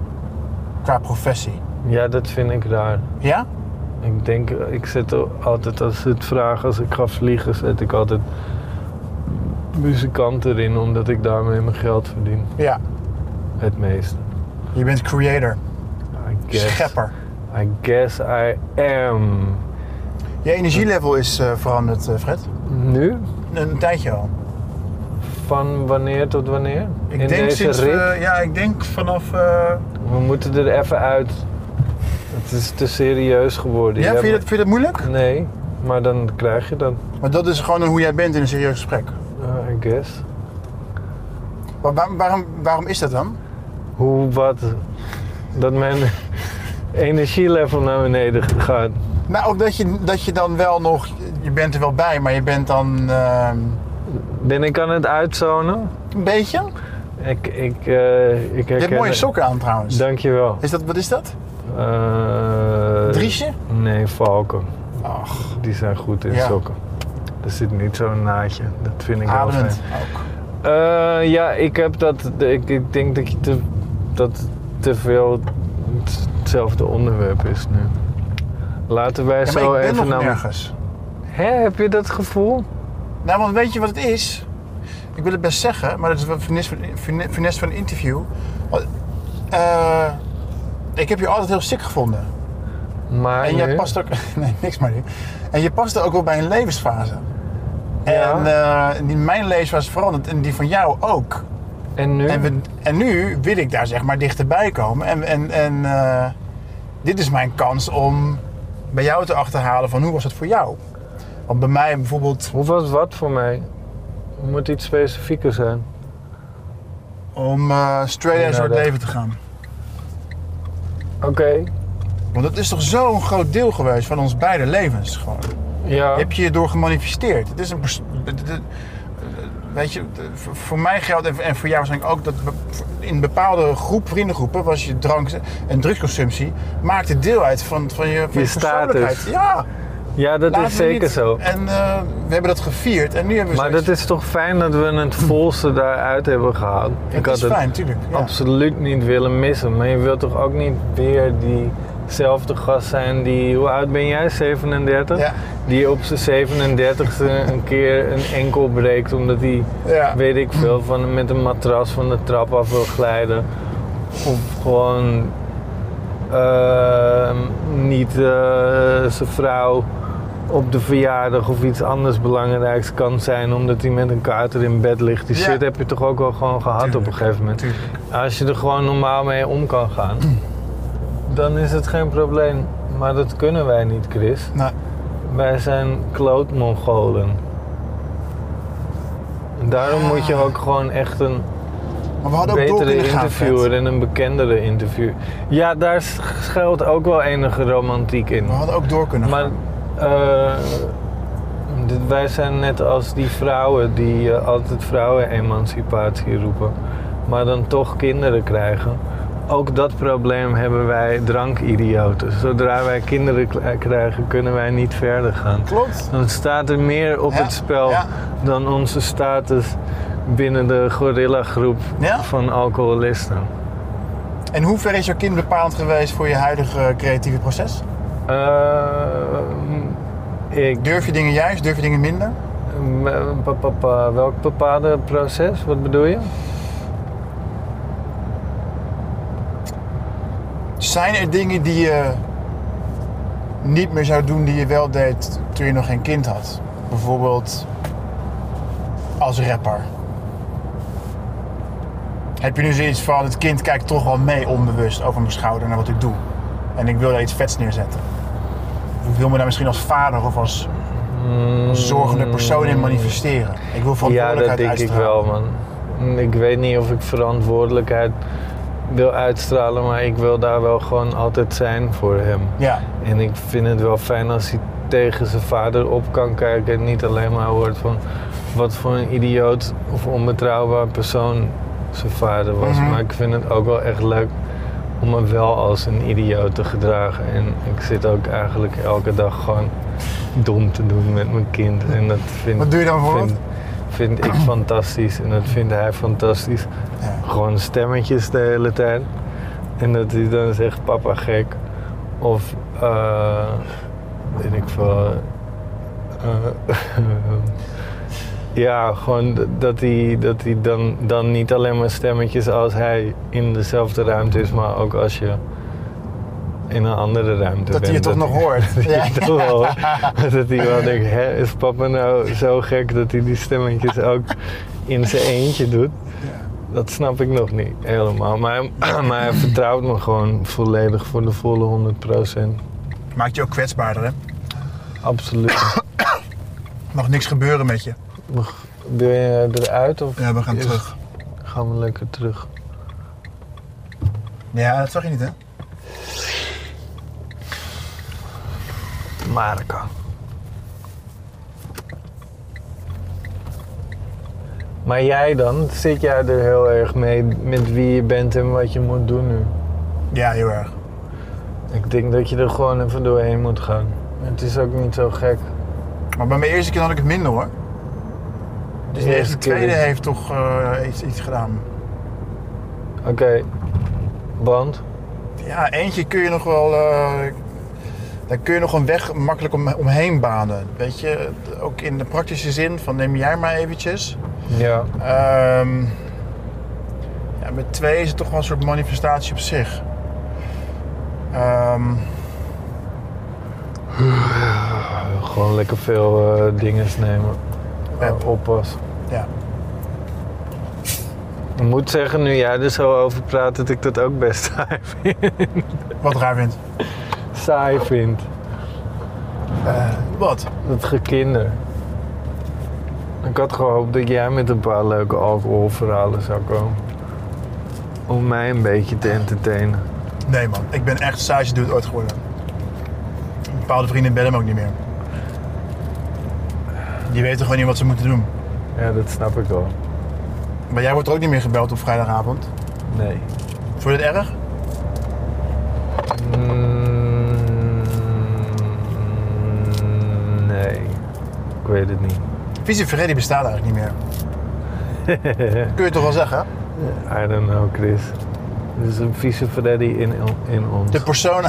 Speaker 3: qua professie.
Speaker 2: Ja, dat vind ik raar.
Speaker 3: Ja?
Speaker 2: Ik denk, ik zet al- altijd als ze het vragen, als ik ga vliegen, zet ik altijd muzikant erin, omdat ik daarmee mijn geld verdien.
Speaker 3: Ja.
Speaker 2: Het meeste.
Speaker 3: Je bent creator,
Speaker 2: I guess.
Speaker 3: schepper.
Speaker 2: I guess I am.
Speaker 3: Je energielevel is eh, veranderd, eh, Fred.
Speaker 2: Nu?
Speaker 3: Een tijdje al.
Speaker 2: Van wanneer tot wanneer?
Speaker 3: Ik
Speaker 2: In
Speaker 3: denk
Speaker 2: deze
Speaker 3: sinds,
Speaker 2: rit?
Speaker 3: eh, ja, ik denk vanaf. eh,
Speaker 2: We moeten er even uit. Het is te serieus geworden.
Speaker 3: ja,
Speaker 2: Je
Speaker 3: vind je, dat,
Speaker 2: hebt-
Speaker 3: vind je dat moeilijk?
Speaker 2: Nee, maar dan krijg je dat.
Speaker 3: Maar dat is gewoon hoe jij bent in een serieus gesprek.
Speaker 2: Eh, I guess.
Speaker 3: Maar waar- waarom, waarom is dat dan?
Speaker 2: hoe wat dat mijn energielevel naar beneden gaat.
Speaker 3: Nou, ook dat je, dat je dan wel nog. Je bent er wel bij, maar je bent dan. ehm,
Speaker 2: Ben ik aan het uitzonen?
Speaker 3: Een beetje.
Speaker 2: Ik, ik, eh ik
Speaker 3: Je hebt
Speaker 2: herken-
Speaker 3: mooie sokken aan trouwens.
Speaker 2: Dankjewel.
Speaker 3: Is dat, wat is dat?
Speaker 2: Eh,
Speaker 3: Driesje?
Speaker 2: Nee, valken.
Speaker 3: Ach,
Speaker 2: Die zijn goed in
Speaker 3: Ja.
Speaker 2: sokken. Er zit niet zo'n naadje. Dat vind ik wel fijn.
Speaker 3: ademend. Ook.
Speaker 2: Eh, ja, ik heb dat. Ik, ik denk dat je te, dat te veel het- hetzelfde onderwerp is nu. Laten wij
Speaker 3: Ja,
Speaker 2: zo
Speaker 3: maar ik ben
Speaker 2: even
Speaker 3: nog
Speaker 2: naar.
Speaker 3: nergens.
Speaker 2: Hè, heb je dat gevoel?
Speaker 3: Nou, want weet je wat het is? Ik wil het best zeggen, maar dat is wel finesse van- finesse- finesse van een interview. Want, eh, ik heb je altijd heel sick gevonden.
Speaker 2: Maar
Speaker 3: En
Speaker 2: nu-
Speaker 3: jij past ook... Nee, niks maar nu. En je past ook wel bij een levensfase.
Speaker 2: Ja.
Speaker 3: En eh, die, mijn levensfase verandert en die van jou ook.
Speaker 2: en nu?
Speaker 3: En, we, en nu wil ik daar zeg maar dichterbij komen. En, en, en eh, dit is mijn kans om bij jou te achterhalen van hoe was het voor jou? Want bij mij bijvoorbeeld...
Speaker 2: Hoe was wat voor mij? Het moet iets specifieker zijn.
Speaker 3: om eh straight edge
Speaker 2: Ja,
Speaker 3: door het
Speaker 2: dat-
Speaker 3: leven te gaan.
Speaker 2: Oké.
Speaker 3: Want dat is toch zo'n groot deel geweest van ons beide levens. Gewoon.
Speaker 2: Ja.
Speaker 3: Heb je je door gemanifesteerd? Het is een. pers- d- d- d- Weet je, d- voor- voor mij geldt en- en voor jou waarschijnlijk ook dat be- in bepaalde groep, vriendengroepen was je drank- en drugsconsumptie maakte deel uit van, van je, van
Speaker 2: Je
Speaker 3: persoonlijkheid.
Speaker 2: status.
Speaker 3: Ja,
Speaker 2: ja, dat
Speaker 3: laten
Speaker 2: is
Speaker 3: we
Speaker 2: zeker
Speaker 3: niet-
Speaker 2: zo.
Speaker 3: En eh, we hebben dat gevierd en nu hebben we
Speaker 2: Maar dat is toch fijn dat we het volste daaruit hebben gehaald.
Speaker 3: ik is fijn, tuurlijk. Ja.
Speaker 2: absoluut niet willen missen. Maar je wilt toch ook niet weer diezelfde gast zijn die, hoe oud ben jij, 37?
Speaker 3: Ja.
Speaker 2: Die op zijn 37ste een keer een enkel breekt omdat hij,
Speaker 3: Ja.
Speaker 2: weet ik veel, van, met een matras van de trap af wil glijden. Of gewoon eh, niet eh, zijn vrouw op de verjaardag of iets anders belangrijks kan zijn omdat hij met een kater in bed ligt. Die
Speaker 3: Ja.
Speaker 2: shit heb je toch ook wel gewoon gehad op een
Speaker 3: Tuurlijk,
Speaker 2: gegeven moment.
Speaker 3: tuurlijk.
Speaker 2: Als je er gewoon normaal mee om kan gaan, dan is het geen probleem. Maar dat kunnen wij niet, Chris.
Speaker 3: Nou,
Speaker 2: Wij zijn klootmongolen. En daarom moet je ook gewoon echt een
Speaker 3: maar we hadden Ah. ook door
Speaker 2: betere
Speaker 3: kunnen gaan. Fred.
Speaker 2: interviewer en een bekendere interview. Ja, daar schuilt ook wel enige romantiek in.
Speaker 3: We hadden ook door kunnen gaan.
Speaker 2: Maar eh, dit- wij zijn net als die vrouwen die eh, altijd vrouwenemancipatie roepen, maar dan toch kinderen krijgen. Ook dat probleem hebben wij drankidioten. Zodra wij kinderen kla- krijgen, kunnen wij niet verder gaan.
Speaker 3: Klopt.
Speaker 2: Dan staat er meer op
Speaker 3: Ja,
Speaker 2: het spel
Speaker 3: ja.
Speaker 2: dan onze status binnen de gorillagroep
Speaker 3: Ja.
Speaker 2: van alcoholisten.
Speaker 3: En hoe ver is jouw kind bepalend geweest voor je huidige creatieve proces?
Speaker 2: Eh, Ehm, ik
Speaker 3: Durf je dingen juist, durf je dingen minder?
Speaker 2: M- pa- pa- pa- Welk bepaalde proces? Wat bedoel je?
Speaker 3: Zijn er dingen die je niet meer zou doen die je wel deed toen je nog geen kind had? Bijvoorbeeld als rapper. Heb je nu zoiets van, het kind kijkt toch wel mee onbewust over mijn schouder naar wat ik doe. En ik wil daar iets vets neerzetten. Ik wil me daar misschien als vader of als zorgende persoon in manifesteren. Ik wil
Speaker 2: Ja, dat
Speaker 3: verantwoordelijkheid
Speaker 2: denk ik
Speaker 3: uitstralen.
Speaker 2: wel, man. Ik weet niet of ik verantwoordelijkheid wil uitstralen, maar ik wil daar wel gewoon altijd zijn voor hem.
Speaker 3: Ja,
Speaker 2: En ik vind het wel fijn als hij tegen zijn vader op kan kijken en niet alleen maar hoort van wat voor een idioot of onbetrouwbaar persoon zijn vader was.
Speaker 3: Mhm.
Speaker 2: Maar ik vind het ook wel echt leuk om me wel als een idioot te gedragen. En ik zit ook eigenlijk elke dag gewoon dom te doen met mijn kind. En dat vind,
Speaker 3: Wat doe je dan bijvoorbeeld?
Speaker 2: vind, vind ik fantastisch en dat vindt hij fantastisch.
Speaker 3: ja.
Speaker 2: Gewoon stemmetjes de hele tijd. En dat hij dan zegt papa gek. Of eh weet ik veel. eh, ja, gewoon d- dat hij, dat hij dan, dan niet alleen maar stemmetjes als hij in dezelfde ruimte is, maar ook als je in een andere ruimte
Speaker 3: dat
Speaker 2: bent.
Speaker 3: hij je toch nog hoort. Ja.
Speaker 2: Ja. Toch wel, hoor. dat hij wel denkt, hè, is papa nou zo gek dat hij die stemmetjes ook in zijn eentje doet? Dat snap ik nog niet helemaal. Maar, maar hij vertrouwt me gewoon volledig voor de volle 100%.
Speaker 3: Maakt je ook kwetsbaarder, hè?
Speaker 2: Absoluut.
Speaker 3: Mag niks gebeuren met je.
Speaker 2: Wil je eruit of
Speaker 3: Ja, we gaan
Speaker 2: Is-
Speaker 3: terug.
Speaker 2: gaan we lekker terug?
Speaker 3: Ja, dat zag je niet, hè?
Speaker 2: Marika. Maar jij dan, zit jij er heel erg mee met wie je bent en wat je moet doen nu?
Speaker 3: Ja, heel erg.
Speaker 2: Ik denk dat je er gewoon even doorheen moet gaan. Het is ook niet zo gek.
Speaker 3: Maar bij mijn eerste keer had ik het minder hoor. Dus de
Speaker 2: eerste keer
Speaker 3: tweede
Speaker 2: is-
Speaker 3: heeft toch eh, iets, iets gedaan.
Speaker 2: Oké, want
Speaker 3: Ja, eentje kun je nog wel. eh, daar kun je nog een weg makkelijk om, omheen banen. Weet je, ook in de praktische zin van neem jij maar eventjes.
Speaker 2: ja,
Speaker 3: Ehm, ja, met twee is het toch wel een soort manifestatie op zich. Ehm,
Speaker 2: gewoon lekker veel eh dingen nemen.
Speaker 3: Ja.
Speaker 2: Eh, oppas.
Speaker 3: ja.
Speaker 2: Ik moet zeggen, nu jij er zo over praat, dat ik dat ook best saai vind.
Speaker 3: Wat raar vindt.
Speaker 2: saai vind.
Speaker 3: Eh. Wat?
Speaker 2: Dat gekinder. Ik had gehoopt dat jij met een paar leuke alcoholverhalen zou komen. Om mij een beetje te entertainen.
Speaker 3: Nee man, ik ben echt saaiste dude ooit geworden. Bepaalde vrienden bellen me ook niet meer. Die weten gewoon niet wat ze moeten doen.
Speaker 2: Ja, dat snap ik wel.
Speaker 3: Maar jij wordt er ook niet meer gebeld op vrijdagavond.
Speaker 2: Nee.
Speaker 3: Vond je het erg?
Speaker 2: Mm, nee. Ik weet het niet.
Speaker 3: Visie Ferré die bestaat eigenlijk niet meer. Kun je toch wel zeggen?
Speaker 2: I don't know, Chris. Er is een vieze Freddy in, in ons.
Speaker 3: De persona.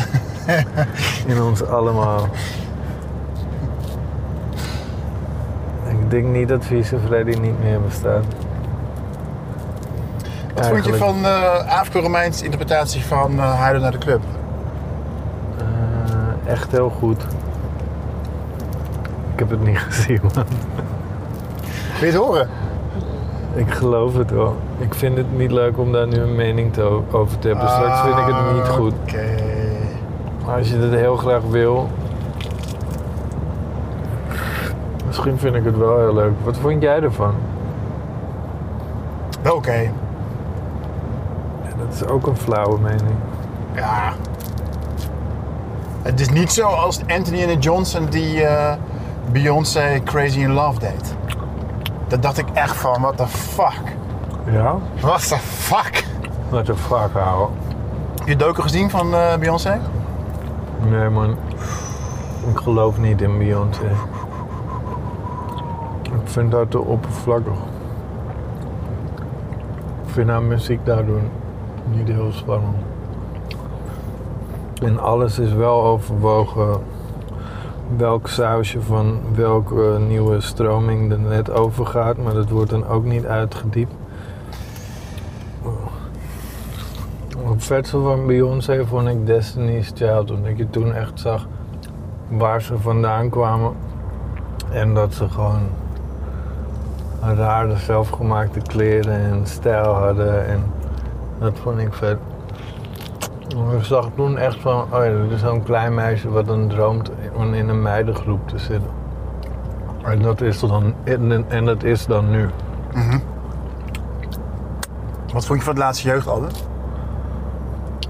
Speaker 2: In ons allemaal. Ik denk niet dat Vieze Freddy niet meer bestaat.
Speaker 3: Wat vond je
Speaker 2: Eigenlijk.
Speaker 3: van eh Afro Romeins interpretatie van eh, Haarlem naar de club?
Speaker 2: Eh, echt heel goed. Ik heb het niet gezien, man.
Speaker 3: Wil je het horen?
Speaker 2: Ik geloof het wel. Ik vind het niet leuk om daar nu een mening te o- over te hebben. Dus Straks vind ik
Speaker 3: Ah.
Speaker 2: het niet goed.
Speaker 3: Oké.
Speaker 2: Maar als je het heel graag wil... Misschien vind ik het wel heel leuk. Wat vond jij ervan?
Speaker 3: Wel Oké.
Speaker 2: Ja, dat is ook een flauwe mening.
Speaker 3: Ja. Het is niet zo als Anthony en Johnson die eh, Beyoncé Crazy in Love deed. Daar dacht ik echt van, what the fuck?
Speaker 2: Ja?
Speaker 3: What the fuck?
Speaker 2: What the fuck, houden.
Speaker 3: Heb je doken gezien van eh, Beyoncé?
Speaker 2: Nee man, ik geloof niet in Beyoncé. Ik vind haar te oppervlakkig. Ik vind haar muziek daardoor niet heel spannend. En alles is wel overwogen welk sausje van welke nieuwe stroming er net overgaat, maar dat wordt dan ook niet uitgediept. Het vetste van Beyoncé vond ik Destiny's Child, omdat je toen echt zag waar ze vandaan kwamen en dat ze gewoon rare zelfgemaakte kleren en stijl hadden en dat vond ik vet. Maar Ik zag toen echt van, oh ja, dit is zo'n klein meisje wat dan droomt om in een meidengroep te zitten. En dat is dan, en, en dat is dan nu.
Speaker 3: Wat vond je van het laatste jeugdalbum?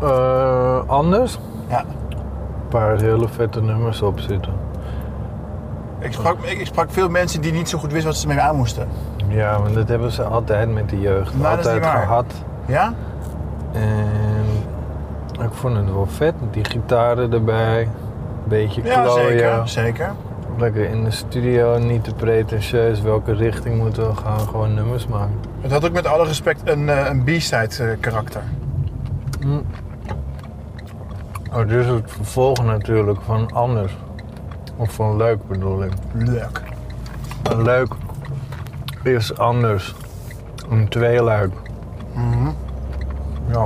Speaker 2: Eh, anders?
Speaker 3: Ja.
Speaker 2: Een paar hele vette nummers op zitten.
Speaker 3: Ik sprak, ik, ik sprak veel mensen die niet zo goed wisten wat ze ermee aan moesten.
Speaker 2: Ja, maar dat hebben ze altijd met de jeugd.
Speaker 3: Nou, dat is
Speaker 2: altijd
Speaker 3: niet waar.
Speaker 2: gehad.
Speaker 3: Ja?
Speaker 2: En ik vond het wel vet. Die gitaren erbij. Beetje
Speaker 3: Ja,
Speaker 2: klooien.
Speaker 3: zeker. Zeker.
Speaker 2: Lekker in de studio. Niet te pretentieus. Welke richting moeten we gaan? Gewoon nummers maken.
Speaker 3: Het had ook met alle respect een, eh, een B-side eh, karakter.
Speaker 2: Oh, dus het vervolg natuurlijk van anders. Of van leuk bedoel ik.
Speaker 3: Leuk.
Speaker 2: Maar leuk is anders. Een tweeluik. Ja.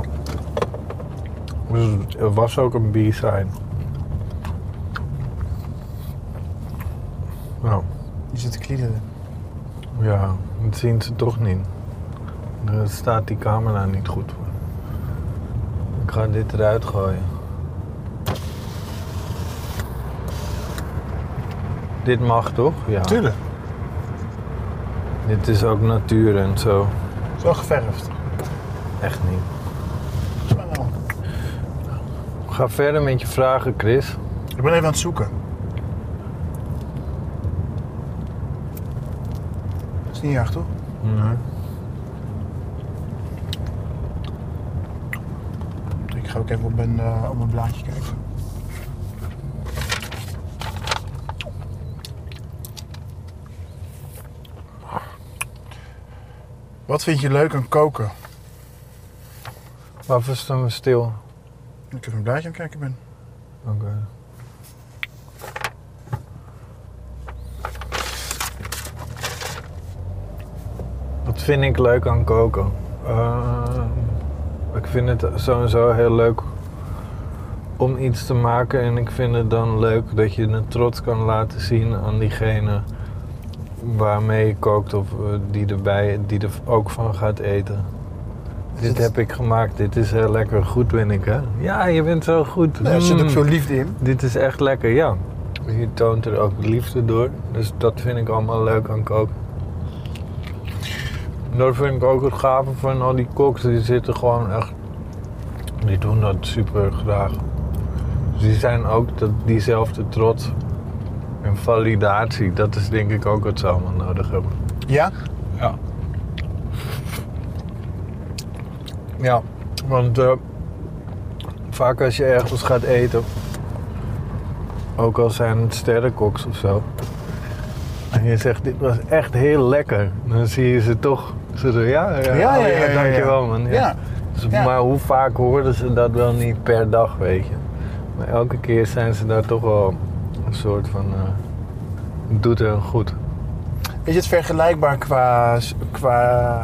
Speaker 2: Dus er was ook een B-side. Nou,
Speaker 3: Die zit te kliederen.
Speaker 2: ja, dat zien ze toch niet. Daar staat die camera niet goed voor. Ik ga dit eruit gooien. Dit mag toch? Ja.
Speaker 3: Tuurlijk.
Speaker 2: Dit is ook natuur en zo.
Speaker 3: Zo geverfd.
Speaker 2: Echt niet.
Speaker 3: Zo.
Speaker 2: Ga verder met je vragen, Chris.
Speaker 3: Ik ben even aan het zoeken. Dat is niet erg, toch?
Speaker 2: Nee.
Speaker 3: Ik ga ook even op mijn, eh, op mijn blaadje kijken. Wat vind je leuk aan koken?
Speaker 2: Waarvoor staan we stil?
Speaker 3: Ik even een blaadje aan het kijken ben.
Speaker 2: Oké. Wat vind ik leuk aan koken? Ehm, ik vind het sowieso heel leuk om iets te maken en ik vind het dan leuk dat je het trots kan laten zien aan diegene waarmee je kookt of eh, die, erbij, die er ook van gaat eten. Dit heb ik gemaakt, dit is heel lekker, goed ben ik hè? Ja, je bent zo goed.
Speaker 3: Nee, er zit
Speaker 2: Mm.
Speaker 3: ook veel liefde in.
Speaker 2: Dit is echt lekker, ja. Je toont er ook liefde door. Dus dat vind ik allemaal leuk aan koken. Dat vind ik ook het gave van al die koks. Die zitten gewoon echt... Die doen dat super graag. Dus die zijn ook dat, diezelfde trots en validatie. Dat is denk ik ook wat ze allemaal nodig hebben.
Speaker 3: Ja?
Speaker 2: Ja. Ja, want eh, vaak als je ergens gaat eten, ook al zijn het sterrenkoks of zo, en je zegt dit was echt heel lekker, dan zie je ze toch. Ze zo, ja, ja,
Speaker 3: Ja,
Speaker 2: oh
Speaker 3: ja, ja, ja,
Speaker 2: dankjewel
Speaker 3: ja.
Speaker 2: man. Ja.
Speaker 3: Ja.
Speaker 2: Dus,
Speaker 3: ja.
Speaker 2: Maar hoe vaak hoorden ze dat wel niet per dag, weet je. Maar elke keer zijn ze daar toch wel een soort van, eh, het doet hun goed.
Speaker 3: Is het vergelijkbaar qua, qua,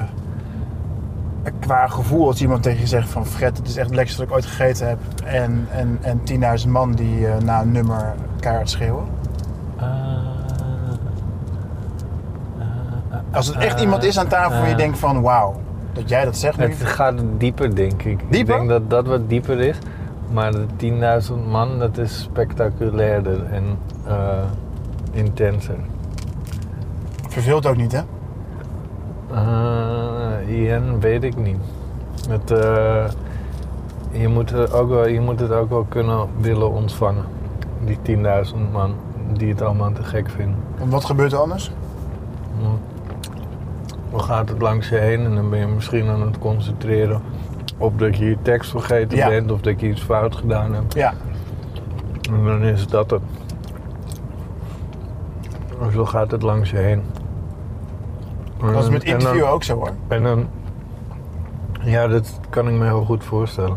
Speaker 3: eh, qua gevoel als iemand tegen je zegt van Fred, het is echt het lekkerste dat ik ooit gegeten heb. En, en, en 10.000 man die eh, na een nummer kaart schreeuwen. Als het
Speaker 2: Eh,
Speaker 3: echt iemand is aan tafel waar je denkt van wauw, dat jij dat zegt nu.
Speaker 2: Het gaat dieper, denk ik. Ik
Speaker 3: Dieper?
Speaker 2: denk dat dat wat dieper is. Maar de 10.000 man, dat is spectaculairder en eh, intenser.
Speaker 3: Verveelt ook niet hè?
Speaker 2: Eh Ian, weet ik niet. Het, eh, je, moet er ook wel, je moet het ook wel kunnen willen ontvangen. Die 10.000 man die het allemaal te gek vinden.
Speaker 3: Want wat gebeurt er anders?
Speaker 2: Ja. Dan gaat het langs je heen en dan ben je misschien aan het concentreren op dat je je tekst vergeten
Speaker 3: Ja.
Speaker 2: bent of dat je iets fout gedaan hebt.
Speaker 3: Ja,
Speaker 2: En dan is dat het. En Zo gaat het langs je heen. En
Speaker 3: dat is
Speaker 2: dan-
Speaker 3: met
Speaker 2: en dan-
Speaker 3: interview ook zo hoor.
Speaker 2: En dan, ja, dat kan ik me heel goed voorstellen.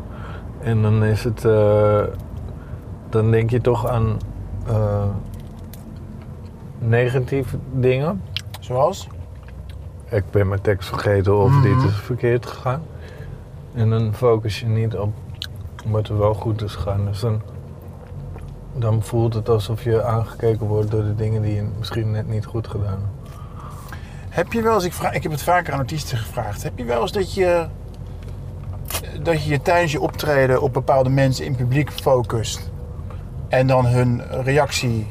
Speaker 2: En dan is het, eh, dan denk je toch aan eh, negatieve dingen.
Speaker 3: Zoals?
Speaker 2: ik ben mijn tekst vergeten of
Speaker 3: Mhm.
Speaker 2: dit is verkeerd gegaan. En dan focus je niet op wat er wel goed is gegaan. Dus dan, dan voelt het alsof je aangekeken wordt door de dingen die je misschien net niet goed gedaan hebt.
Speaker 3: Heb je wel eens, ik, vraag, ik heb het vaker aan artiesten gevraagd, heb je wel eens dat je dat je je tijdens je optreden op bepaalde mensen in publiek focust en dan hun reactie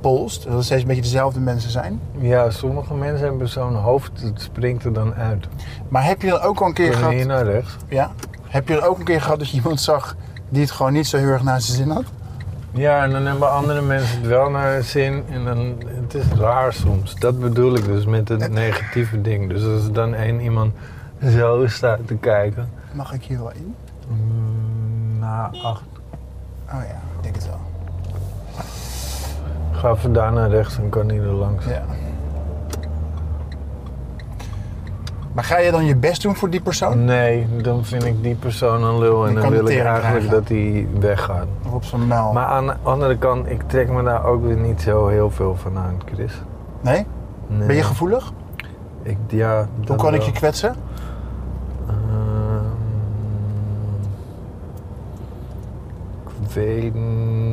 Speaker 3: polst, dat het steeds een beetje dezelfde mensen zijn?
Speaker 2: Ja, sommige mensen hebben zo'n hoofd, het springt er dan uit.
Speaker 3: Maar heb je dan ook al een keer
Speaker 2: Van hier
Speaker 3: gehad,
Speaker 2: naar rechts.
Speaker 3: ja, heb je dan ook een keer gehad dat je iemand zag die het gewoon niet zo heel erg naar zijn zin had?
Speaker 2: Ja, en dan hebben andere mensen het wel naar hun zin. En dan, het is raar soms. Dat bedoel ik dus met het negatieve ding. Dus als er dan één iemand zo staat te kijken.
Speaker 3: Mag ik hier wel in?
Speaker 2: mm, Na acht
Speaker 3: Oh ja, ik denk het wel.
Speaker 2: Ga even daar naar rechts en kan hij er langs.
Speaker 3: Ja. Maar ga je dan je best doen voor die persoon?
Speaker 2: Mm. Nee, dan vind ik die persoon een lul en
Speaker 3: Die
Speaker 2: dan
Speaker 3: kan de
Speaker 2: wil ik
Speaker 3: tering
Speaker 2: eigenlijk
Speaker 3: krijgen.
Speaker 2: dat hij weggaat.
Speaker 3: Of op zijn mel?
Speaker 2: Maar aan de andere kant, ik trek me daar ook weer niet zo heel veel van aan, Chris.
Speaker 3: nee?
Speaker 2: Nee.
Speaker 3: Ben je gevoelig?
Speaker 2: ik, ja,
Speaker 3: Hoe
Speaker 2: dat
Speaker 3: kan ik
Speaker 2: wel.
Speaker 3: je kwetsen?
Speaker 2: Ehm, ik weet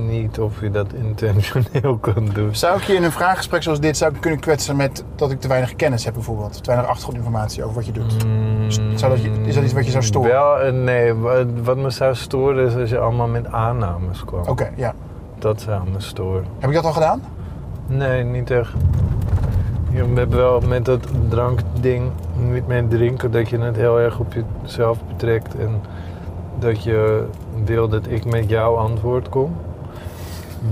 Speaker 2: niet of je dat intentioneel kan doen.
Speaker 3: Zou ik je in een vraaggesprek zoals dit zou ik kunnen kwetsen met dat ik te weinig kennis heb bijvoorbeeld? Te weinig achtergrondinformatie over wat je doet. Zou dat je- is dat iets wat je zou storen?
Speaker 2: Mm. Wel, eh, nee. Wat, wat me zou storen is als je allemaal met aannames kwam.
Speaker 3: Oké, ja.
Speaker 2: Dat zou me storen.
Speaker 3: Heb ik dat al gedaan?
Speaker 2: Nee, niet echt. Je hebt wel met dat drankding, niet meer drinken, dat je het heel erg op jezelf betrekt. En dat je wil dat ik met jouw antwoord kom.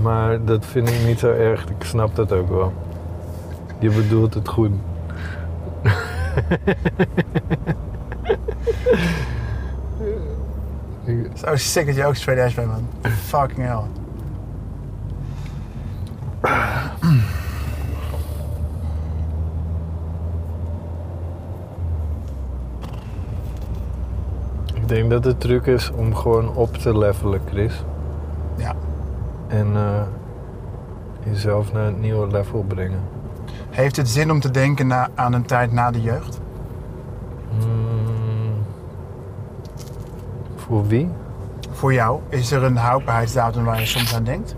Speaker 2: Maar dat vind ik niet zo erg. Ik snap dat ook wel. Je bedoelt het goed. Ik-
Speaker 3: Het is ook Oh, sick dat je ook straight edge bent, man. Fucking hell.
Speaker 2: Ik denk dat de truc is om gewoon op te levelen, Chris.
Speaker 3: Ja.
Speaker 2: En eh, jezelf naar het nieuwe level brengen.
Speaker 3: Heeft het zin om te denken na, aan een tijd na de jeugd?
Speaker 2: Hmm. Voor wie?
Speaker 3: Voor jou, is er een houdbaarheidsdatum waar je soms aan denkt?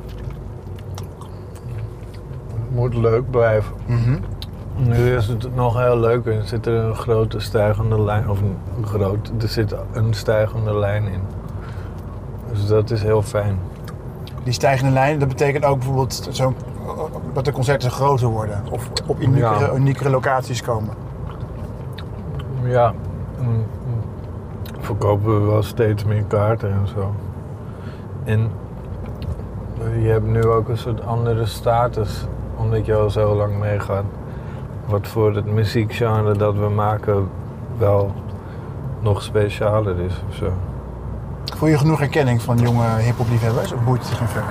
Speaker 2: Het moet leuk blijven.
Speaker 3: Mhm.
Speaker 2: Nu is het nog heel leuk en zit er een grote stijgende lijn, of een groot, er zit een stijgende lijn in. Dus dat is heel fijn.
Speaker 3: Die stijgende lijn, dat betekent ook bijvoorbeeld zo'n dat de concerten groter worden. Of op uniekere,
Speaker 2: Ja.
Speaker 3: uniekere locaties komen.
Speaker 2: Ja, en verkopen we wel steeds meer kaarten en zo. En je hebt nu ook een soort andere status, omdat je al zo lang meegaat. Wat voor het muziekgenre dat we maken wel nog specialer is of zo.
Speaker 3: Voel je genoeg erkenning van jonge hip-hop liefhebbers? Of boeit het je geen fuck?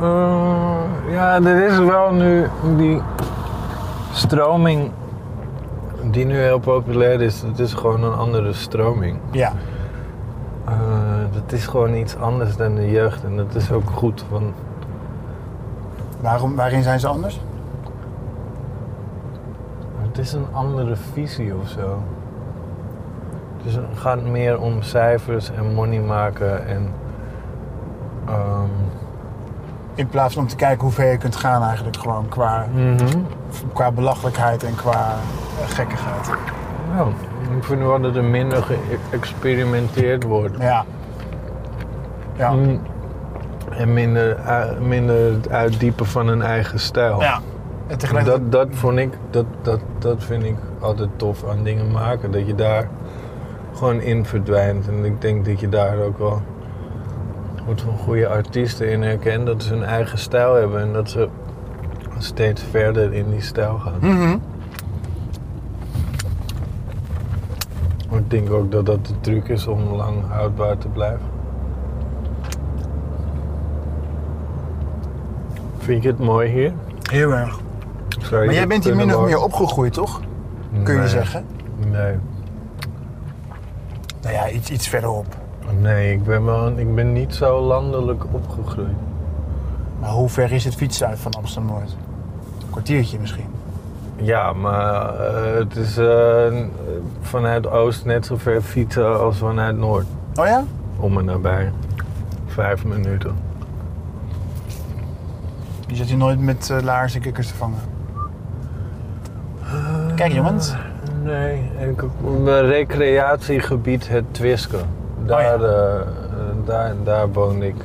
Speaker 2: Eh, ja, er is wel nu die stroming die nu heel populair is. Het is gewoon een andere stroming.
Speaker 3: Ja.
Speaker 2: Eh, dat is gewoon iets anders dan de jeugd en dat is ook goed. Want
Speaker 3: Waarom, waarin zijn ze anders?
Speaker 2: het is een andere visie of zo. Dus het gaat meer om cijfers en money maken en. ehm,
Speaker 3: In plaats van om te kijken hoe ver je kunt gaan eigenlijk gewoon qua,
Speaker 2: mhm.
Speaker 3: qua belachelijkheid en qua eh, gekkigheid.
Speaker 2: Nou, ik vind wel dat er minder geëxperimenteerd wordt.
Speaker 3: Ja. Ja.
Speaker 2: Mm. En minder, eh, minder het uitdiepen van een eigen stijl.
Speaker 3: ja. En tegelijkertijd...
Speaker 2: Dat, dat, vond ik, dat, dat, dat vind ik altijd tof aan dingen maken. Dat je daar gewoon in verdwijnt. En ik denk dat je daar ook wel wordt van goede artiesten in herkent. Dat ze hun eigen stijl hebben. En dat ze steeds verder in die stijl gaan.
Speaker 3: Mhm.
Speaker 2: Ik denk ook dat dat de truc is om lang houdbaar te blijven. Vind je het mooi hier?
Speaker 3: Heel erg. Maar jij bent hier min of meer opgegroeid, toch? Kun je zeggen?
Speaker 2: Nee.
Speaker 3: Nou ja, iets, iets verderop.
Speaker 2: Nee, ik ben, wel, ik ben niet zo landelijk opgegroeid.
Speaker 3: Maar hoe ver is het fietsen uit van Amsterdam-Noord? Een kwartiertje misschien.
Speaker 2: Ja, maar eh, het is eh, vanuit Oost net zo ver fietsen als vanuit Noord.
Speaker 3: Oh ja?
Speaker 2: Om en nabij. Vijf minuten.
Speaker 3: Je zit hier nooit met eh, laars en kikkers te vangen.
Speaker 2: Eh.
Speaker 3: Kijk jongens.
Speaker 2: Nee, ik, mijn recreatiegebied het Twisken.
Speaker 3: Oh
Speaker 2: Daar, eh, eh, daar, daar woonde ik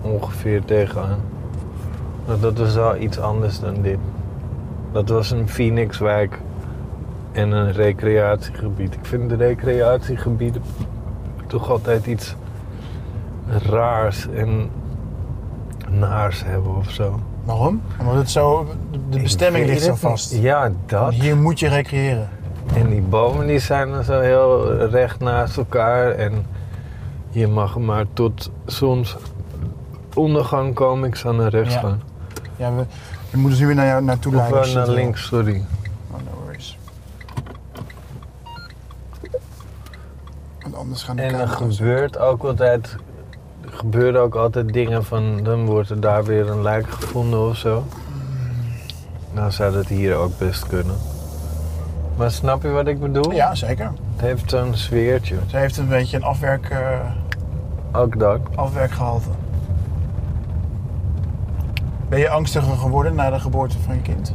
Speaker 2: ongeveer tegenaan. Maar dat was wel iets anders dan dit. Dat was een Phoenixwijk en een recreatiegebied. Ik vind de recreatiegebieden toch altijd iets raars en naars hebben of zo.
Speaker 3: Waarom? Omdat het zo, de- de bestemming
Speaker 2: Ik weet
Speaker 3: ligt zo
Speaker 2: het niet.
Speaker 3: vast.
Speaker 2: Ja, dat.
Speaker 3: Hier moet je recreëren.
Speaker 2: En die bomen die zijn dan zo heel recht naast elkaar. En je mag maar tot soms ondergang komen. Ik zou naar rechts
Speaker 3: Ja.
Speaker 2: gaan.
Speaker 3: Ja, we, we moeten ze nu weer naar jou naartoe
Speaker 2: Of
Speaker 3: leiden.
Speaker 2: eh,
Speaker 3: als je
Speaker 2: naar
Speaker 3: het wil.
Speaker 2: links, sorry.
Speaker 3: Oh, no worries. Want anders gaan de
Speaker 2: En eh, er
Speaker 3: camera's...
Speaker 2: gebeurt ook altijd, er gebeuren ook altijd dingen van... dan wordt er daar weer een lijk gevonden of zo. Nou zou dat hier ook best kunnen. Maar snap je wat ik bedoel?
Speaker 3: Ja, zeker.
Speaker 2: Het heeft zo'n sfeertje.
Speaker 3: Ze heeft een beetje een afwerk, eh,
Speaker 2: Ook dat.
Speaker 3: afwerkgehalte. Ben je angstiger geworden na de geboorte van je kind?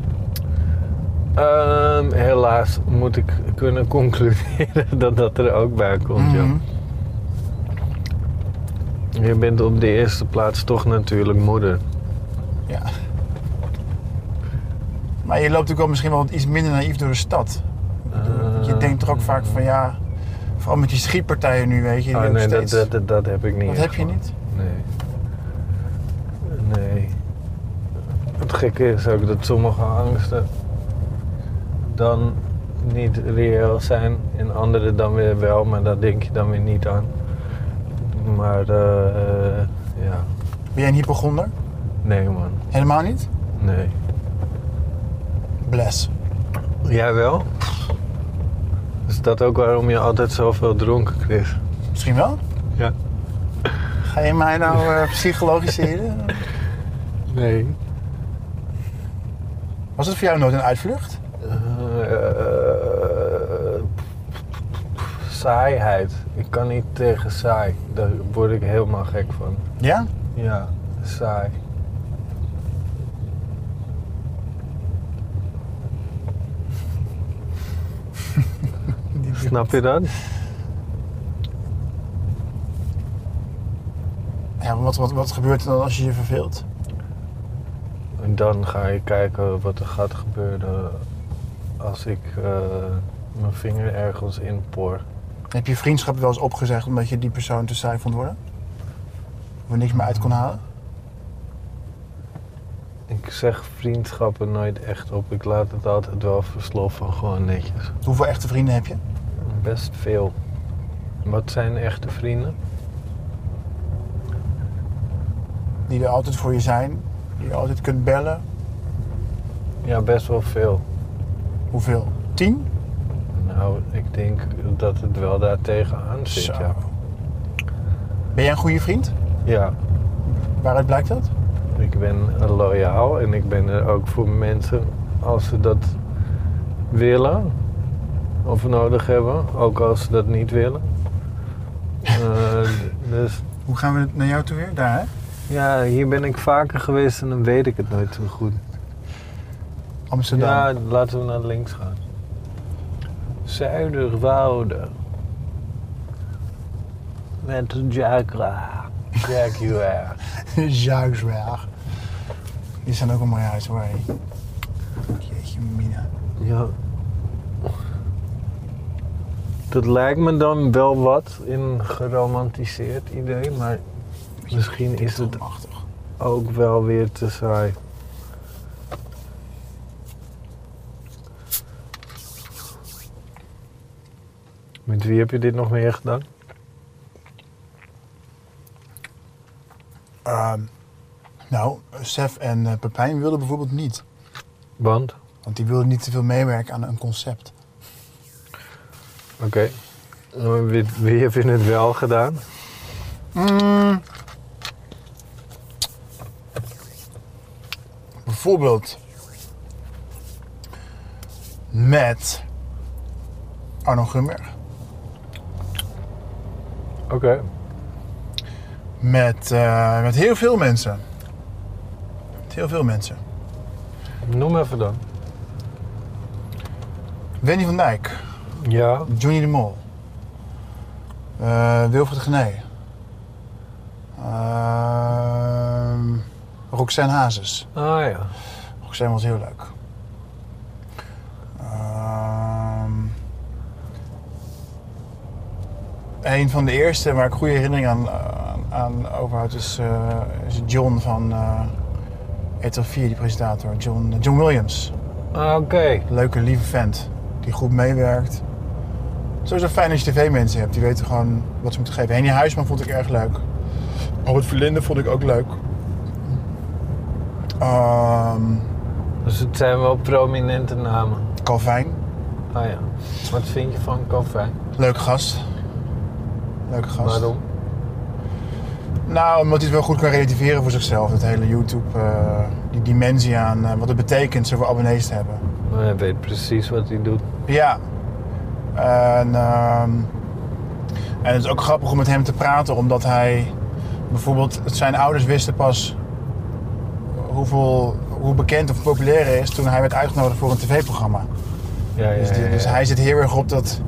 Speaker 2: Ehm, helaas moet ik kunnen concluderen dat dat er ook bij komt. ja.
Speaker 3: Mhm.
Speaker 2: Je bent op de eerste plaats toch natuurlijk moeder.
Speaker 3: Ja. Maar je loopt ook wel misschien wel wat iets minder naïef door de stad. Want je
Speaker 2: Eh,
Speaker 3: denkt er ook vaak van ja, vooral met die schietpartijen nu, weet je. die
Speaker 2: oh,
Speaker 3: ook
Speaker 2: nee, dat,
Speaker 3: steeds-
Speaker 2: dat, dat, dat heb ik niet.
Speaker 3: dat
Speaker 2: echt
Speaker 3: heb je
Speaker 2: van.
Speaker 3: niet.
Speaker 2: Nee. Nee. Het gekke is ook dat sommige angsten dan niet reëel zijn en andere dan weer wel, maar daar denk je dan weer niet aan. Maar eh, eh, ja,
Speaker 3: Ben jij een hypochonder?
Speaker 2: nee man,
Speaker 3: Helemaal niet?
Speaker 2: nee.
Speaker 3: Bless.
Speaker 2: Jij wel? Is dat ook waarom je altijd zoveel dronken kreeg?
Speaker 3: Misschien wel?
Speaker 2: Ja.
Speaker 3: Ga je mij nou eh, psychologiseren?
Speaker 2: Nee.
Speaker 3: Was het voor jou nooit een uitvlucht?
Speaker 2: Eh, saaiheid. Ik kan niet tegen saai. Daar word ik helemaal gek van.
Speaker 3: Ja?
Speaker 2: Ja, saai. Snap je dat?
Speaker 3: Ja, wat, wat, wat gebeurt er dan als je je verveelt?
Speaker 2: En dan ga je kijken wat er gaat gebeuren als ik eh, mijn vinger ergens in por.
Speaker 3: Heb je vriendschap wel eens opgezegd omdat je die persoon te saai vond worden? Of er niks meer uit kon halen?
Speaker 2: Ik zeg vriendschappen nooit echt op. Ik laat het altijd wel versloffen, gewoon netjes.
Speaker 3: Hoeveel echte vrienden heb je?
Speaker 2: Best veel. Wat zijn echte vrienden?
Speaker 3: Die er altijd voor je zijn? Die je altijd kunt bellen?
Speaker 2: Ja, best wel veel.
Speaker 3: Hoeveel? Tien?
Speaker 2: Nou, ik denk dat het wel daar tegenaan zit,
Speaker 3: Zo.
Speaker 2: ja.
Speaker 3: Ben jij een goede vriend?
Speaker 2: Ja,
Speaker 3: Waaruit blijkt dat?
Speaker 2: ik ben loyaal en ik ben er ook voor mensen als ze dat willen of nodig hebben. Ook als ze dat niet willen. Eh, dus
Speaker 3: Hoe gaan we naar jou toe weer? Daar, hè?
Speaker 2: ja, hier ben ik vaker geweest en dan weet ik het nooit zo goed.
Speaker 3: Amsterdam.
Speaker 2: Ja, laten we naar links gaan. Zuiderwoude. Met een Jaguar. Jaguar.
Speaker 3: Zuigsberg. Die zijn ook een mooi huis, hoor. hé. Jeetje, mina.
Speaker 2: ja. Dat lijkt me dan wel wat in geromantiseerd idee, maar misschien is het
Speaker 3: Machtig.
Speaker 2: ook wel weer te saai. Met wie heb je dit nog meer gedaan?
Speaker 3: Ehm, nou, Sef en eh, Pepijn wilden bijvoorbeeld niet.
Speaker 2: Want?
Speaker 3: Want die wilden niet te veel meewerken aan een concept.
Speaker 2: Oké. Eh, Wie, wie heb je het wel gedaan?
Speaker 3: Mm. Bijvoorbeeld met Arno Grunberg,
Speaker 2: Oké.
Speaker 3: met, eh, met heel veel mensen. Met heel veel mensen.
Speaker 2: Noem even dan.
Speaker 3: Wendy van Dijk,
Speaker 2: Ja.
Speaker 3: Johnny de Mol, eh, Wilfried Gené, Ehm Roxanne Hazes.
Speaker 2: Ah ja.
Speaker 3: Roxanne was heel leuk. Ehm, een van de eerste waar ik goede herinneringen aan, aan, aan overhoud is, eh, is John van eh RTL 4, die presentator. John, eh, John Williams.
Speaker 2: Ah, Oké.
Speaker 3: Leuke, lieve vent. Die goed meewerkt. Sowieso fijn als je tv-mensen hebt. Die weten gewoon wat ze moeten geven. Henny Huisman vond ik erg leuk. Robert Verlinde vond ik ook leuk. Ehm
Speaker 2: Dus het zijn wel prominente namen.
Speaker 3: Calvijn.
Speaker 2: Ah ja. Wat vind je van Calvin?
Speaker 3: Leuke gast. Leuke gast.
Speaker 2: Waarom?
Speaker 3: Nou, omdat hij het wel goed kan relativeren voor zichzelf. Dat hele YouTube, eh, die dimensie aan eh, wat het betekent zoveel abonnees te hebben.
Speaker 2: Maar hij weet precies wat hij doet.
Speaker 3: Ja. En, ehm, en het is ook grappig om met hem te praten, omdat hij bijvoorbeeld, zijn ouders wisten pas hoeveel, hoe bekend of populair hij is toen hij werd uitgenodigd voor een tv-programma.
Speaker 2: Ja, ja,
Speaker 3: Dus, die-
Speaker 2: ja,
Speaker 3: dus
Speaker 2: ja.
Speaker 3: hij zit heel erg op dat,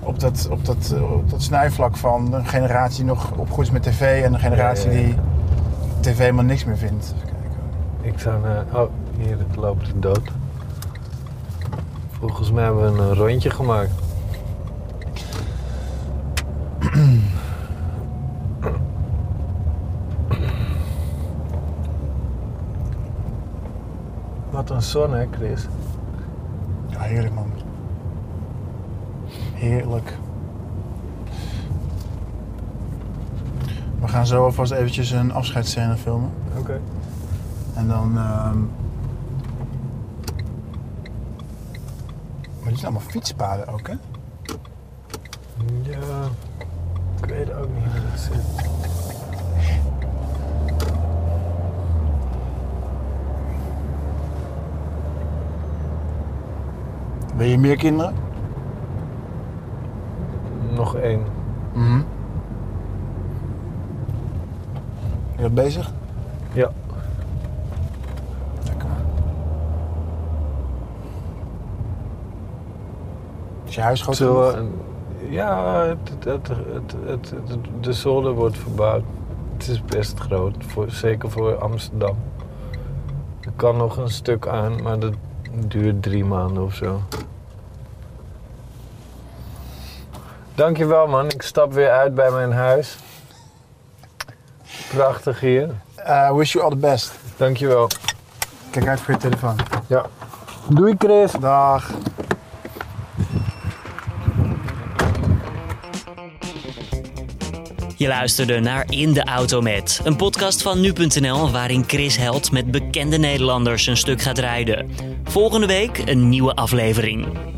Speaker 3: op, dat, op, dat, eh, op dat snijvlak van een generatie die nog opgegroeid is met tv en een generatie
Speaker 2: Ja, ja, ja.
Speaker 3: die tv helemaal niks meer vindt. Even kijken.
Speaker 2: Ik zou naar... Oh, hier het loopt de dood. Volgens mij hebben we een rondje gemaakt. Wat een zon hè, Chris?
Speaker 3: Ja, heerlijk man. Heerlijk. We gaan zo alvast eventjes een afscheidsscène filmen.
Speaker 2: Oké.
Speaker 3: En dan... ehm Maar dit zijn allemaal fietspaden ook, hè?
Speaker 2: Ja, ik weet ook niet hoe dat zit.
Speaker 3: Wil je meer kinderen?
Speaker 2: Nog één.
Speaker 3: Mhm. Je bent bezig?
Speaker 2: Ja.
Speaker 3: Lekker man. Is je huis groot
Speaker 2: Zullen
Speaker 3: genoeg?
Speaker 2: we een- ja, het, het, het, het, het- het- de zolder wordt verbouwd. Het is best groot, voor, zeker voor Amsterdam. Er kan nog een stuk aan, maar dat duurt drie maanden of zo. Dankjewel man, ik stap weer uit bij mijn huis. Prachtig hier.
Speaker 3: Eh, wish you all the best.
Speaker 2: Dankjewel.
Speaker 3: Kijk uit voor je telefoon.
Speaker 2: Ja. Doei Chris.
Speaker 3: Dag.
Speaker 1: Je luisterde naar In de Auto Met, een podcast van nu.nl waarin Chris Held met bekende Nederlanders een stuk gaat rijden. Volgende week een nieuwe aflevering.